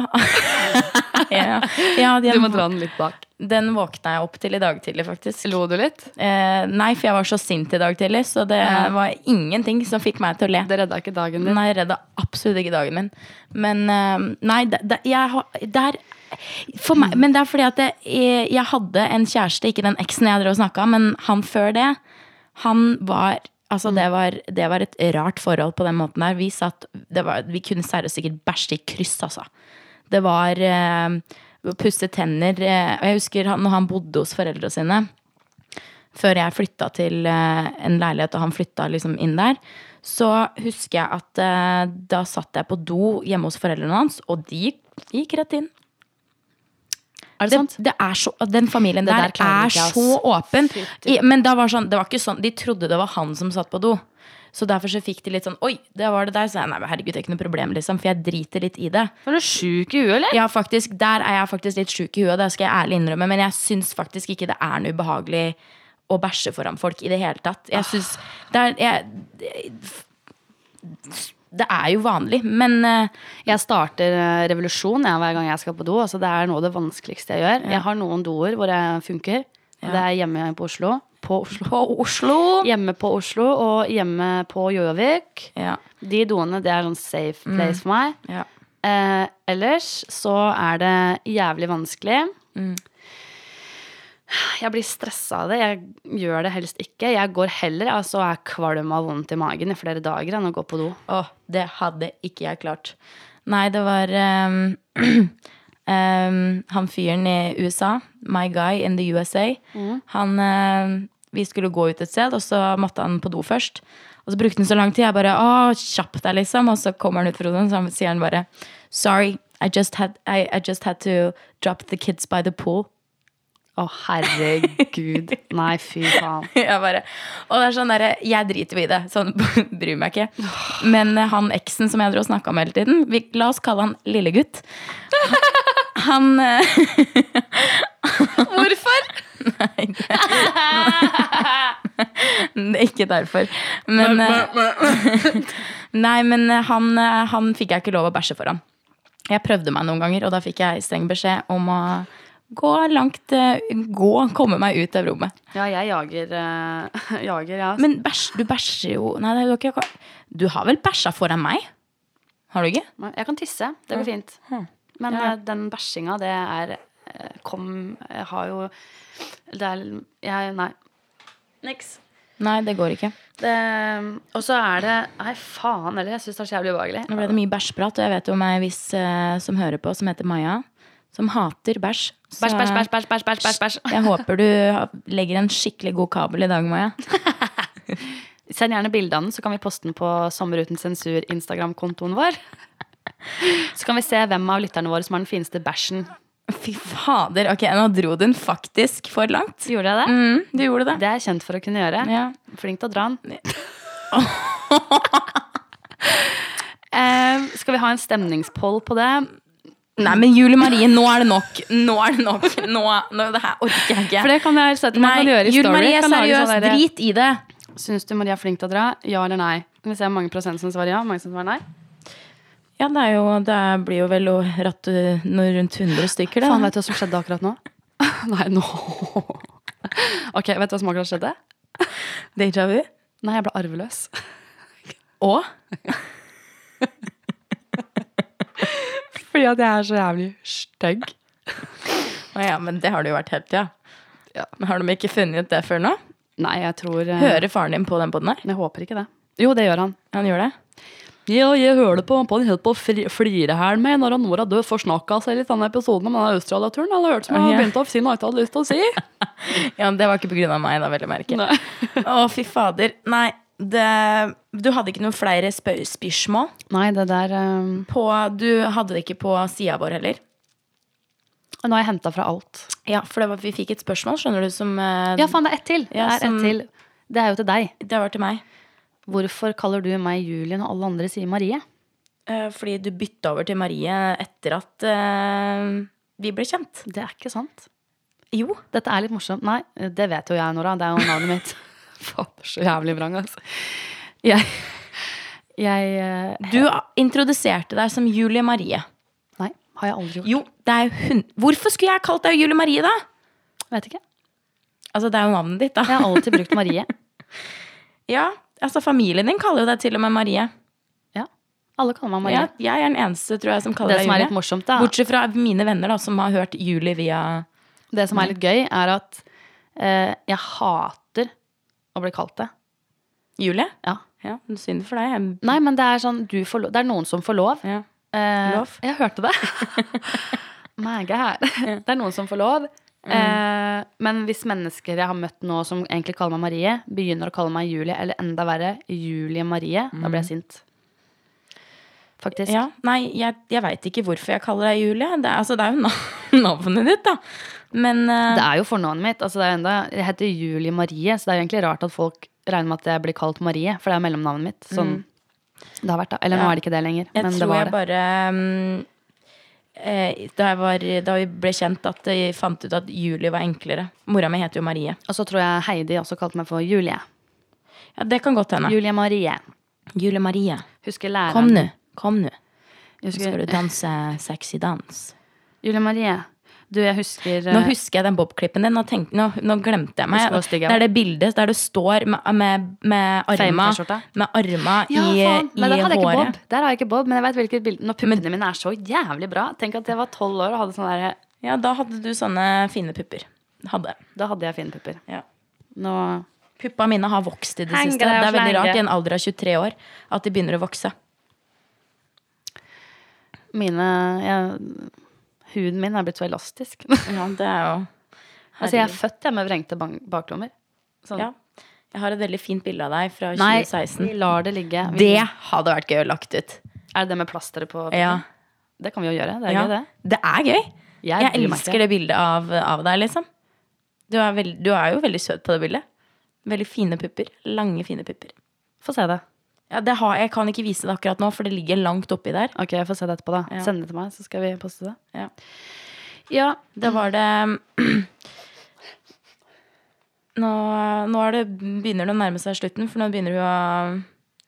[SPEAKER 2] ja, ja den,
[SPEAKER 1] Du må dra den litt bak.
[SPEAKER 2] den våkna jeg opp til i dag tidlig, faktisk.
[SPEAKER 1] Lo du litt?
[SPEAKER 2] Eh, nei, for jeg var så sint i dag tidlig, så det
[SPEAKER 1] Ja.
[SPEAKER 2] var ingenting som fikk meg til å le.
[SPEAKER 1] Det redda ikke dagen din.
[SPEAKER 2] Nei, jeg redda absolutt ikke dagen min. Men eh, nei, det, det, jeg har der, for meg, Men det er fordi at det, jeg, jeg hadde en kjæreste, ikke den eksen jeg drev og snakka om, men han før det, han var Altså, det var, det var et rart forhold på den måten der. Vi satt det var, Vi kunne seriøst sikkert bæsje i kryss, altså. Det var eh, å pusse tenner eh, Og jeg husker han, når han bodde hos foreldrene sine før jeg flytta til eh, en leilighet, og han flytta liksom inn der, så husker jeg at eh, da satt jeg på do hjemme hos foreldrene hans, og de gikk rett inn.
[SPEAKER 1] Er det
[SPEAKER 2] Det,
[SPEAKER 1] sant?
[SPEAKER 2] det er så, den familien
[SPEAKER 1] Det
[SPEAKER 2] der,
[SPEAKER 1] der klarer
[SPEAKER 2] er
[SPEAKER 1] ikke jeg, ass.
[SPEAKER 2] så åpen.
[SPEAKER 1] Fytti.
[SPEAKER 2] I, men da var sånn, det var ikke sånn, de trodde det var han som satt på do. Så derfor så fikk de litt sånn Oi, det var det der. Så jeg nei, men herregud, det er ikke noe problem, liksom. For jeg driter litt i det.
[SPEAKER 1] Var du sjuk i huet, eller?
[SPEAKER 2] Ja, faktisk, Der er jeg faktisk litt sjuk i huet, det skal jeg ærlig innrømme. Men jeg syns faktisk ikke det er noe ubehagelig å bæsje foran folk i det hele tatt. Jeg synes, det, er, jeg, det er jo vanlig, men eh,
[SPEAKER 1] Jeg starter eh, revolusjon jeg, hver gang jeg skal på do. Altså, det er noe av det vanskeligste jeg gjør. Jeg har noen doer hvor jeg funker. og Det er hjemme på Oslo. På Oslo.
[SPEAKER 2] på Oslo
[SPEAKER 1] Hjemme på Oslo og hjemme på Gjøvik.
[SPEAKER 2] Ja.
[SPEAKER 1] De doene det er sånn safe place for meg.
[SPEAKER 2] ja.
[SPEAKER 1] Eh, ellers så er det jævlig vanskelig. Mm. Jeg blir stressa av det. Jeg gjør det helst ikke. Jeg går heller altså er kvalm av vondt i magen i flere dager enn å gå på do.
[SPEAKER 2] Å, det hadde ikke jeg klart. Nei, det var ehm, ehm, han fyren i USA, my guy in the USA. Han, ehm, vi skulle gå ut et sted, og så måtte han på do først. Og så brukte han så lang tid. Jeg bare å, kjapp deg, liksom. Og så kommer han ut fra doen, så han- sier han bare sorry. I just, had, I, I just had to drop the kids by the pool.
[SPEAKER 1] Å, herregud. Nei, fy faen.
[SPEAKER 2] Jeg bare, og det er sånn derre Jeg driter jo i det. Sånn, bryr meg ikke. Men eh, han eksen som jeg dro og snakka med hele tiden, vi, la oss kalle han lillegutt. Han eh,
[SPEAKER 1] Hvorfor?
[SPEAKER 2] Nei, det- ikke derfor. Men eh, Nei, men eh, han, eh, han fikk jeg ikke lov å bæsje foran. Jeg prøvde meg noen ganger, og da fikk jeg streng beskjed om å gå langt eh, Gå, komme meg ut av rommet.
[SPEAKER 1] Ja, jeg jager. eh, jager, ja.
[SPEAKER 2] Men bæsj, du bæsjer jo Nei, det er jo ikke Du har vel bæsja foran meg? Har du ikke?
[SPEAKER 1] Men jeg kan tisse. Det går fint.
[SPEAKER 2] Hm.
[SPEAKER 1] Men eh, den bæsjinga, det er eh, Kom Jeg har jo Det er jeg, Nei. Niks.
[SPEAKER 2] Nei, det går ikke.
[SPEAKER 1] Det, og så er det Nei, faen heller. Jeg syns det er så jævlig
[SPEAKER 2] Nå
[SPEAKER 1] ubehagelig.
[SPEAKER 2] ble det mye bæsjprat, og jeg vet om ei viss eh, som hører på, som heter Maja, som hater bæsj. Så
[SPEAKER 1] Bæsj, bæsj, bæsj, bæsj, bæsj, bæsj, bæsj, bæsj.
[SPEAKER 2] Jeg håper du ha- legger en skikkelig god kabel i dag, Maja.
[SPEAKER 1] Send gjerne bilde av den, så kan vi poste den på Sommer uten sensur Instagram-kontoen vår. Så kan vi se hvem av lytterne våre som har den fineste bæsjen.
[SPEAKER 2] Fy fader. Ok, nå dro du den faktisk for langt.
[SPEAKER 1] Gjorde jeg det?
[SPEAKER 2] Mm, du gjorde det.
[SPEAKER 1] Det er jeg kjent for å kunne gjøre.
[SPEAKER 2] Ja.
[SPEAKER 1] Flink til å dra den. Eh, skal vi ha en stemningspoll på det?
[SPEAKER 2] Nei, men Julie Marie, nå er det nok. Nå er det nok. Nå, nå det her orker jeg ikke.
[SPEAKER 1] For det kan jeg sette meg kan gjøre
[SPEAKER 2] Nei,
[SPEAKER 1] i
[SPEAKER 2] Julie
[SPEAKER 1] story.
[SPEAKER 2] Marie,
[SPEAKER 1] Kan lage
[SPEAKER 2] seriøst,
[SPEAKER 1] sånn der-
[SPEAKER 2] drit i det.
[SPEAKER 1] Syns du Marie er flink til å dra? Ja eller nei? Kan vi se hvor mange prosent som svarer ja, hvor mange som svarer nei?
[SPEAKER 2] Ja, det, er jo, det blir jo vel å ratte noe rundt 100 stykker, det.
[SPEAKER 1] Faen, vet du hva som skjedde akkurat nå? nei, nå Ok, vet du hva som akkurat skjedde?
[SPEAKER 2] Déjà vu.
[SPEAKER 1] Nei, jeg ble arveløs.
[SPEAKER 2] Og?
[SPEAKER 1] Fordi at jeg er så jævlig stygg.
[SPEAKER 2] Å ja, men det har du jo vært hele tida.
[SPEAKER 1] Ja.
[SPEAKER 2] Men har de ikke funnet ut det før nå?
[SPEAKER 1] Nei, jeg tror eh,
[SPEAKER 2] Hører faren din på den poden her?
[SPEAKER 1] Jeg håper ikke det. Jo, det gjør han.
[SPEAKER 2] Han gjør det?
[SPEAKER 1] Ja, jeg hører det på han helt på flirehælen med når han Nora død forsnakka seg litt denne episoden om denne Australia-turen. Han hørte som
[SPEAKER 2] han Ja.
[SPEAKER 1] å si noe jeg ikke hadde lyst til å si.
[SPEAKER 2] Ja, men det var ikke på grunn av meg, da, vil jeg merke. Å, fy fader. Nei, det, du hadde ikke noen flere spør spørsmål?
[SPEAKER 1] Nei, det der eh,
[SPEAKER 2] På, du hadde det ikke på sida vår heller?
[SPEAKER 1] Nå har jeg henta fra alt.
[SPEAKER 2] Ja, for det var, vi fikk et spørsmål, skjønner du, som eh,
[SPEAKER 1] Ja, faen, det er ett til.
[SPEAKER 2] Ja,
[SPEAKER 1] det, er
[SPEAKER 2] som-
[SPEAKER 1] ett til. det er jo til deg.
[SPEAKER 2] Det var til meg.
[SPEAKER 1] Hvorfor kaller du meg Julie når alle andre sier Marie?
[SPEAKER 2] Eh, fordi du bytta over til Marie etter at eh, vi ble kjent.
[SPEAKER 1] Det er ikke sant.
[SPEAKER 2] Jo.
[SPEAKER 1] Dette er litt morsomt. Nei, det vet jo jeg, Nora. Det er jo navnet mitt. Fader, så jævlig vrang, altså. Jeg, jeg eh,
[SPEAKER 2] Du introduserte deg som Julie Marie.
[SPEAKER 1] Nei, har jeg aldri gjort.
[SPEAKER 2] Jo, det er jo hun Hvorfor skulle jeg kalt deg Julie Marie, da?
[SPEAKER 1] Vet ikke.
[SPEAKER 2] Altså, det er jo navnet ditt, da.
[SPEAKER 1] Jeg har alltid brukt Marie.
[SPEAKER 2] Ja, altså Familien din kaller jo deg til og med Marie.
[SPEAKER 1] Ja. Alle kaller meg Marie.
[SPEAKER 2] Ja, jeg er den eneste tror jeg, som kaller
[SPEAKER 1] Det
[SPEAKER 2] deg
[SPEAKER 1] som er
[SPEAKER 2] Julie.
[SPEAKER 1] litt morsomt, da.
[SPEAKER 2] Bortsett fra mine venner, da, som har hørt Julie via
[SPEAKER 1] Det som er litt gøy, er at eh, jeg hater å bli kalt det.
[SPEAKER 2] Julie.
[SPEAKER 1] Ja.
[SPEAKER 2] Ja, Synd for deg. jeg-
[SPEAKER 1] Nei, men det er sånn du får lov. Det er noen som får lov.
[SPEAKER 2] Ja.
[SPEAKER 1] Eh,
[SPEAKER 2] Lov.
[SPEAKER 1] Jeg hørte det. My God. Det er noen som får lov. Eh, men hvis mennesker jeg har møtt nå som egentlig kaller meg Marie, begynner å kalle meg Julie, eller enda verre Julie Marie, da blir jeg sint. Faktisk.
[SPEAKER 2] ja. Nei, jeg, jeg veit ikke hvorfor jeg kaller deg Julie. Det er, altså, det er jo nav- navnet ditt, da. Men eh,
[SPEAKER 1] Det er jo fornavnet mitt. Altså det er jo enda, jeg heter Julie Marie, så det er jo egentlig rart at folk regner med at jeg blir kalt Marie, for det er mellomnavnet mitt. Sånn det har vært da. Eller nå
[SPEAKER 2] Mm. Ja.
[SPEAKER 1] er det ikke det lenger.
[SPEAKER 2] jeg
[SPEAKER 1] men det
[SPEAKER 2] tror
[SPEAKER 1] var
[SPEAKER 2] jeg
[SPEAKER 1] det.
[SPEAKER 2] bare mm, eh, da, jeg var, da vi ble kjent, at jeg fant ut at Julie var enklere. Mora mi heter jo Marie.
[SPEAKER 1] Og så tror jeg Heidi også kalte meg for Julie.
[SPEAKER 2] Ja, Det kan godt hende.
[SPEAKER 1] Julie Marie.
[SPEAKER 2] Julie Marie.
[SPEAKER 1] Husker læreren
[SPEAKER 2] Kom nå. Kom nå.
[SPEAKER 1] Jeg
[SPEAKER 2] Nå skal
[SPEAKER 1] Husker,
[SPEAKER 2] du danse sexy dans.
[SPEAKER 1] Julie Marie. Du, jeg husker
[SPEAKER 2] Nå
[SPEAKER 1] eh,
[SPEAKER 2] husker jeg den bobklippen din. Nå, tenk, nå, nå glemte jeg meg.
[SPEAKER 1] Husker du hvor stygg jeg
[SPEAKER 2] Det er det bildet der du står med, med, med arma,
[SPEAKER 1] Fame-T-skjorta.
[SPEAKER 2] med arma
[SPEAKER 1] ja,
[SPEAKER 2] i,
[SPEAKER 1] faen. Men der
[SPEAKER 2] i
[SPEAKER 1] hadde jeg ikke
[SPEAKER 2] håret.
[SPEAKER 1] bob. Der har jeg ikke bob, men jeg vet hvilket bilde. Når puppene mine er så jævlig bra. Tenk at jeg var tolv år og hadde sånn derre
[SPEAKER 2] Ja, da hadde du sånne fine pupper. Hadde.
[SPEAKER 1] Da hadde jeg fine pupper.
[SPEAKER 2] Ja.
[SPEAKER 1] Nå
[SPEAKER 2] Puppa mine har vokst i det
[SPEAKER 1] Henger
[SPEAKER 2] siste.
[SPEAKER 1] og
[SPEAKER 2] Det er veldig
[SPEAKER 1] slenger.
[SPEAKER 2] rart i en alder av 23 år at de begynner å vokse.
[SPEAKER 1] Mine jeg, Huden min er blitt så elastisk.
[SPEAKER 2] Ja, det er jo
[SPEAKER 1] Altså, jeg er født jeg, med vrengte bang- baklommer. Sånn.
[SPEAKER 2] ja. Jeg har et veldig fint bilde av deg fra
[SPEAKER 1] Nei,
[SPEAKER 2] 2016.
[SPEAKER 1] vi lar det ligge. Vi,
[SPEAKER 2] Det hadde vært gøy å lagt ut.
[SPEAKER 1] Er det det med plasteret på? puppen?
[SPEAKER 2] Ja.
[SPEAKER 1] Det kan vi jo gjøre. Det er
[SPEAKER 2] Ja.
[SPEAKER 1] gøy, det.
[SPEAKER 2] Det er gøy.
[SPEAKER 1] Jeg
[SPEAKER 2] Jeg,
[SPEAKER 1] bryr meg ikke.
[SPEAKER 2] elsker det bildet av, av deg, liksom. Du er, veld, du er jo veldig søt på det bildet. Veldig fine pupper. Lange, fine pupper.
[SPEAKER 1] Få se det.
[SPEAKER 2] Ja, det har, jeg kan ikke vise det akkurat nå, for det ligger langt oppi der.
[SPEAKER 1] Ok, jeg får se det etterpå, da.
[SPEAKER 2] Ja.
[SPEAKER 1] Send det til meg, så skal vi poste det.
[SPEAKER 2] Ja.
[SPEAKER 1] Ja,
[SPEAKER 2] Det var det Nå, nå er det, begynner det å nærme seg slutten, for nå begynner du å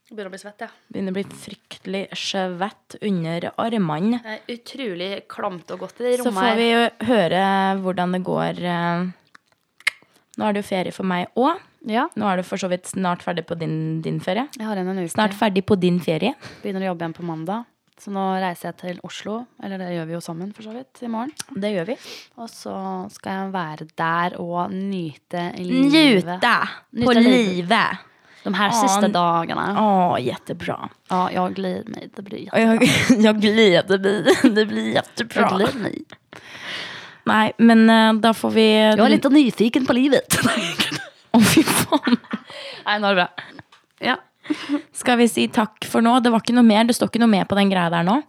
[SPEAKER 1] Begynner å bli svett, ja.
[SPEAKER 2] begynner å bli fryktelig svett under armene.
[SPEAKER 1] Det er utrolig klamt og godt i det
[SPEAKER 2] Så får vi jo høre hvordan det går. eh. Nå er det jo ferie for meg òg.
[SPEAKER 1] Ja,
[SPEAKER 2] Nå er du for så vidt snart ferdig på din, din ferie.
[SPEAKER 1] jeg har igjen en uke.
[SPEAKER 2] Snart ferdig på din ferie.
[SPEAKER 1] Begynner å jobbe igjen på mandag. Så nå reiser jeg til Oslo, eller det gjør vi jo sammen for så vidt, i morgen.
[SPEAKER 2] Det gjør vi.
[SPEAKER 1] Og så skal jeg være der og nyte livet.
[SPEAKER 2] Njute på
[SPEAKER 1] Njute livet.
[SPEAKER 2] livet.
[SPEAKER 1] De her siste
[SPEAKER 2] An-
[SPEAKER 1] dagene.
[SPEAKER 2] Å, jättebra.
[SPEAKER 1] Ja, jeg gleder meg. Det blir
[SPEAKER 2] Og jeg, jeg gleder meg. Det blir jättebra.
[SPEAKER 1] Jeg gleder meg.
[SPEAKER 2] Nei, men eh, da får vi
[SPEAKER 1] Jeg var litt nyfiken på livet.
[SPEAKER 2] Å, fy faen.
[SPEAKER 1] Nei, nå er det bra. Ja.
[SPEAKER 2] Skal vi si takk for nå? Det var ikke noe mer. Det står ikke noe mer på den greia der nå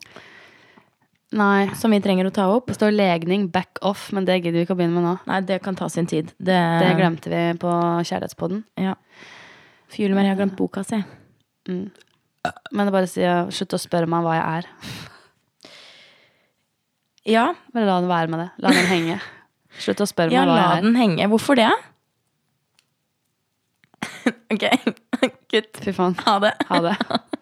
[SPEAKER 1] Nei.
[SPEAKER 2] som vi trenger å ta opp.
[SPEAKER 1] Det står legning back off, men det gidder vi ikke å begynne med nå.
[SPEAKER 2] Nei, det kan ta sin tid. Det,
[SPEAKER 1] Det glemte vi på Kjærlighetspodden.
[SPEAKER 2] Ja. For Julie Marie har glemt boka si.
[SPEAKER 1] Mm. Men det er bare å si, slutt å spørre meg hva jeg er.
[SPEAKER 2] Ja,
[SPEAKER 1] Bare la den være med det. La den henge. Slutt å spørre meg
[SPEAKER 2] ja
[SPEAKER 1] hva
[SPEAKER 2] la
[SPEAKER 1] jeg er.
[SPEAKER 2] den henge. Hvorfor det? ok, kutt.
[SPEAKER 1] Fy faen.
[SPEAKER 2] Ha det.
[SPEAKER 1] Ha det.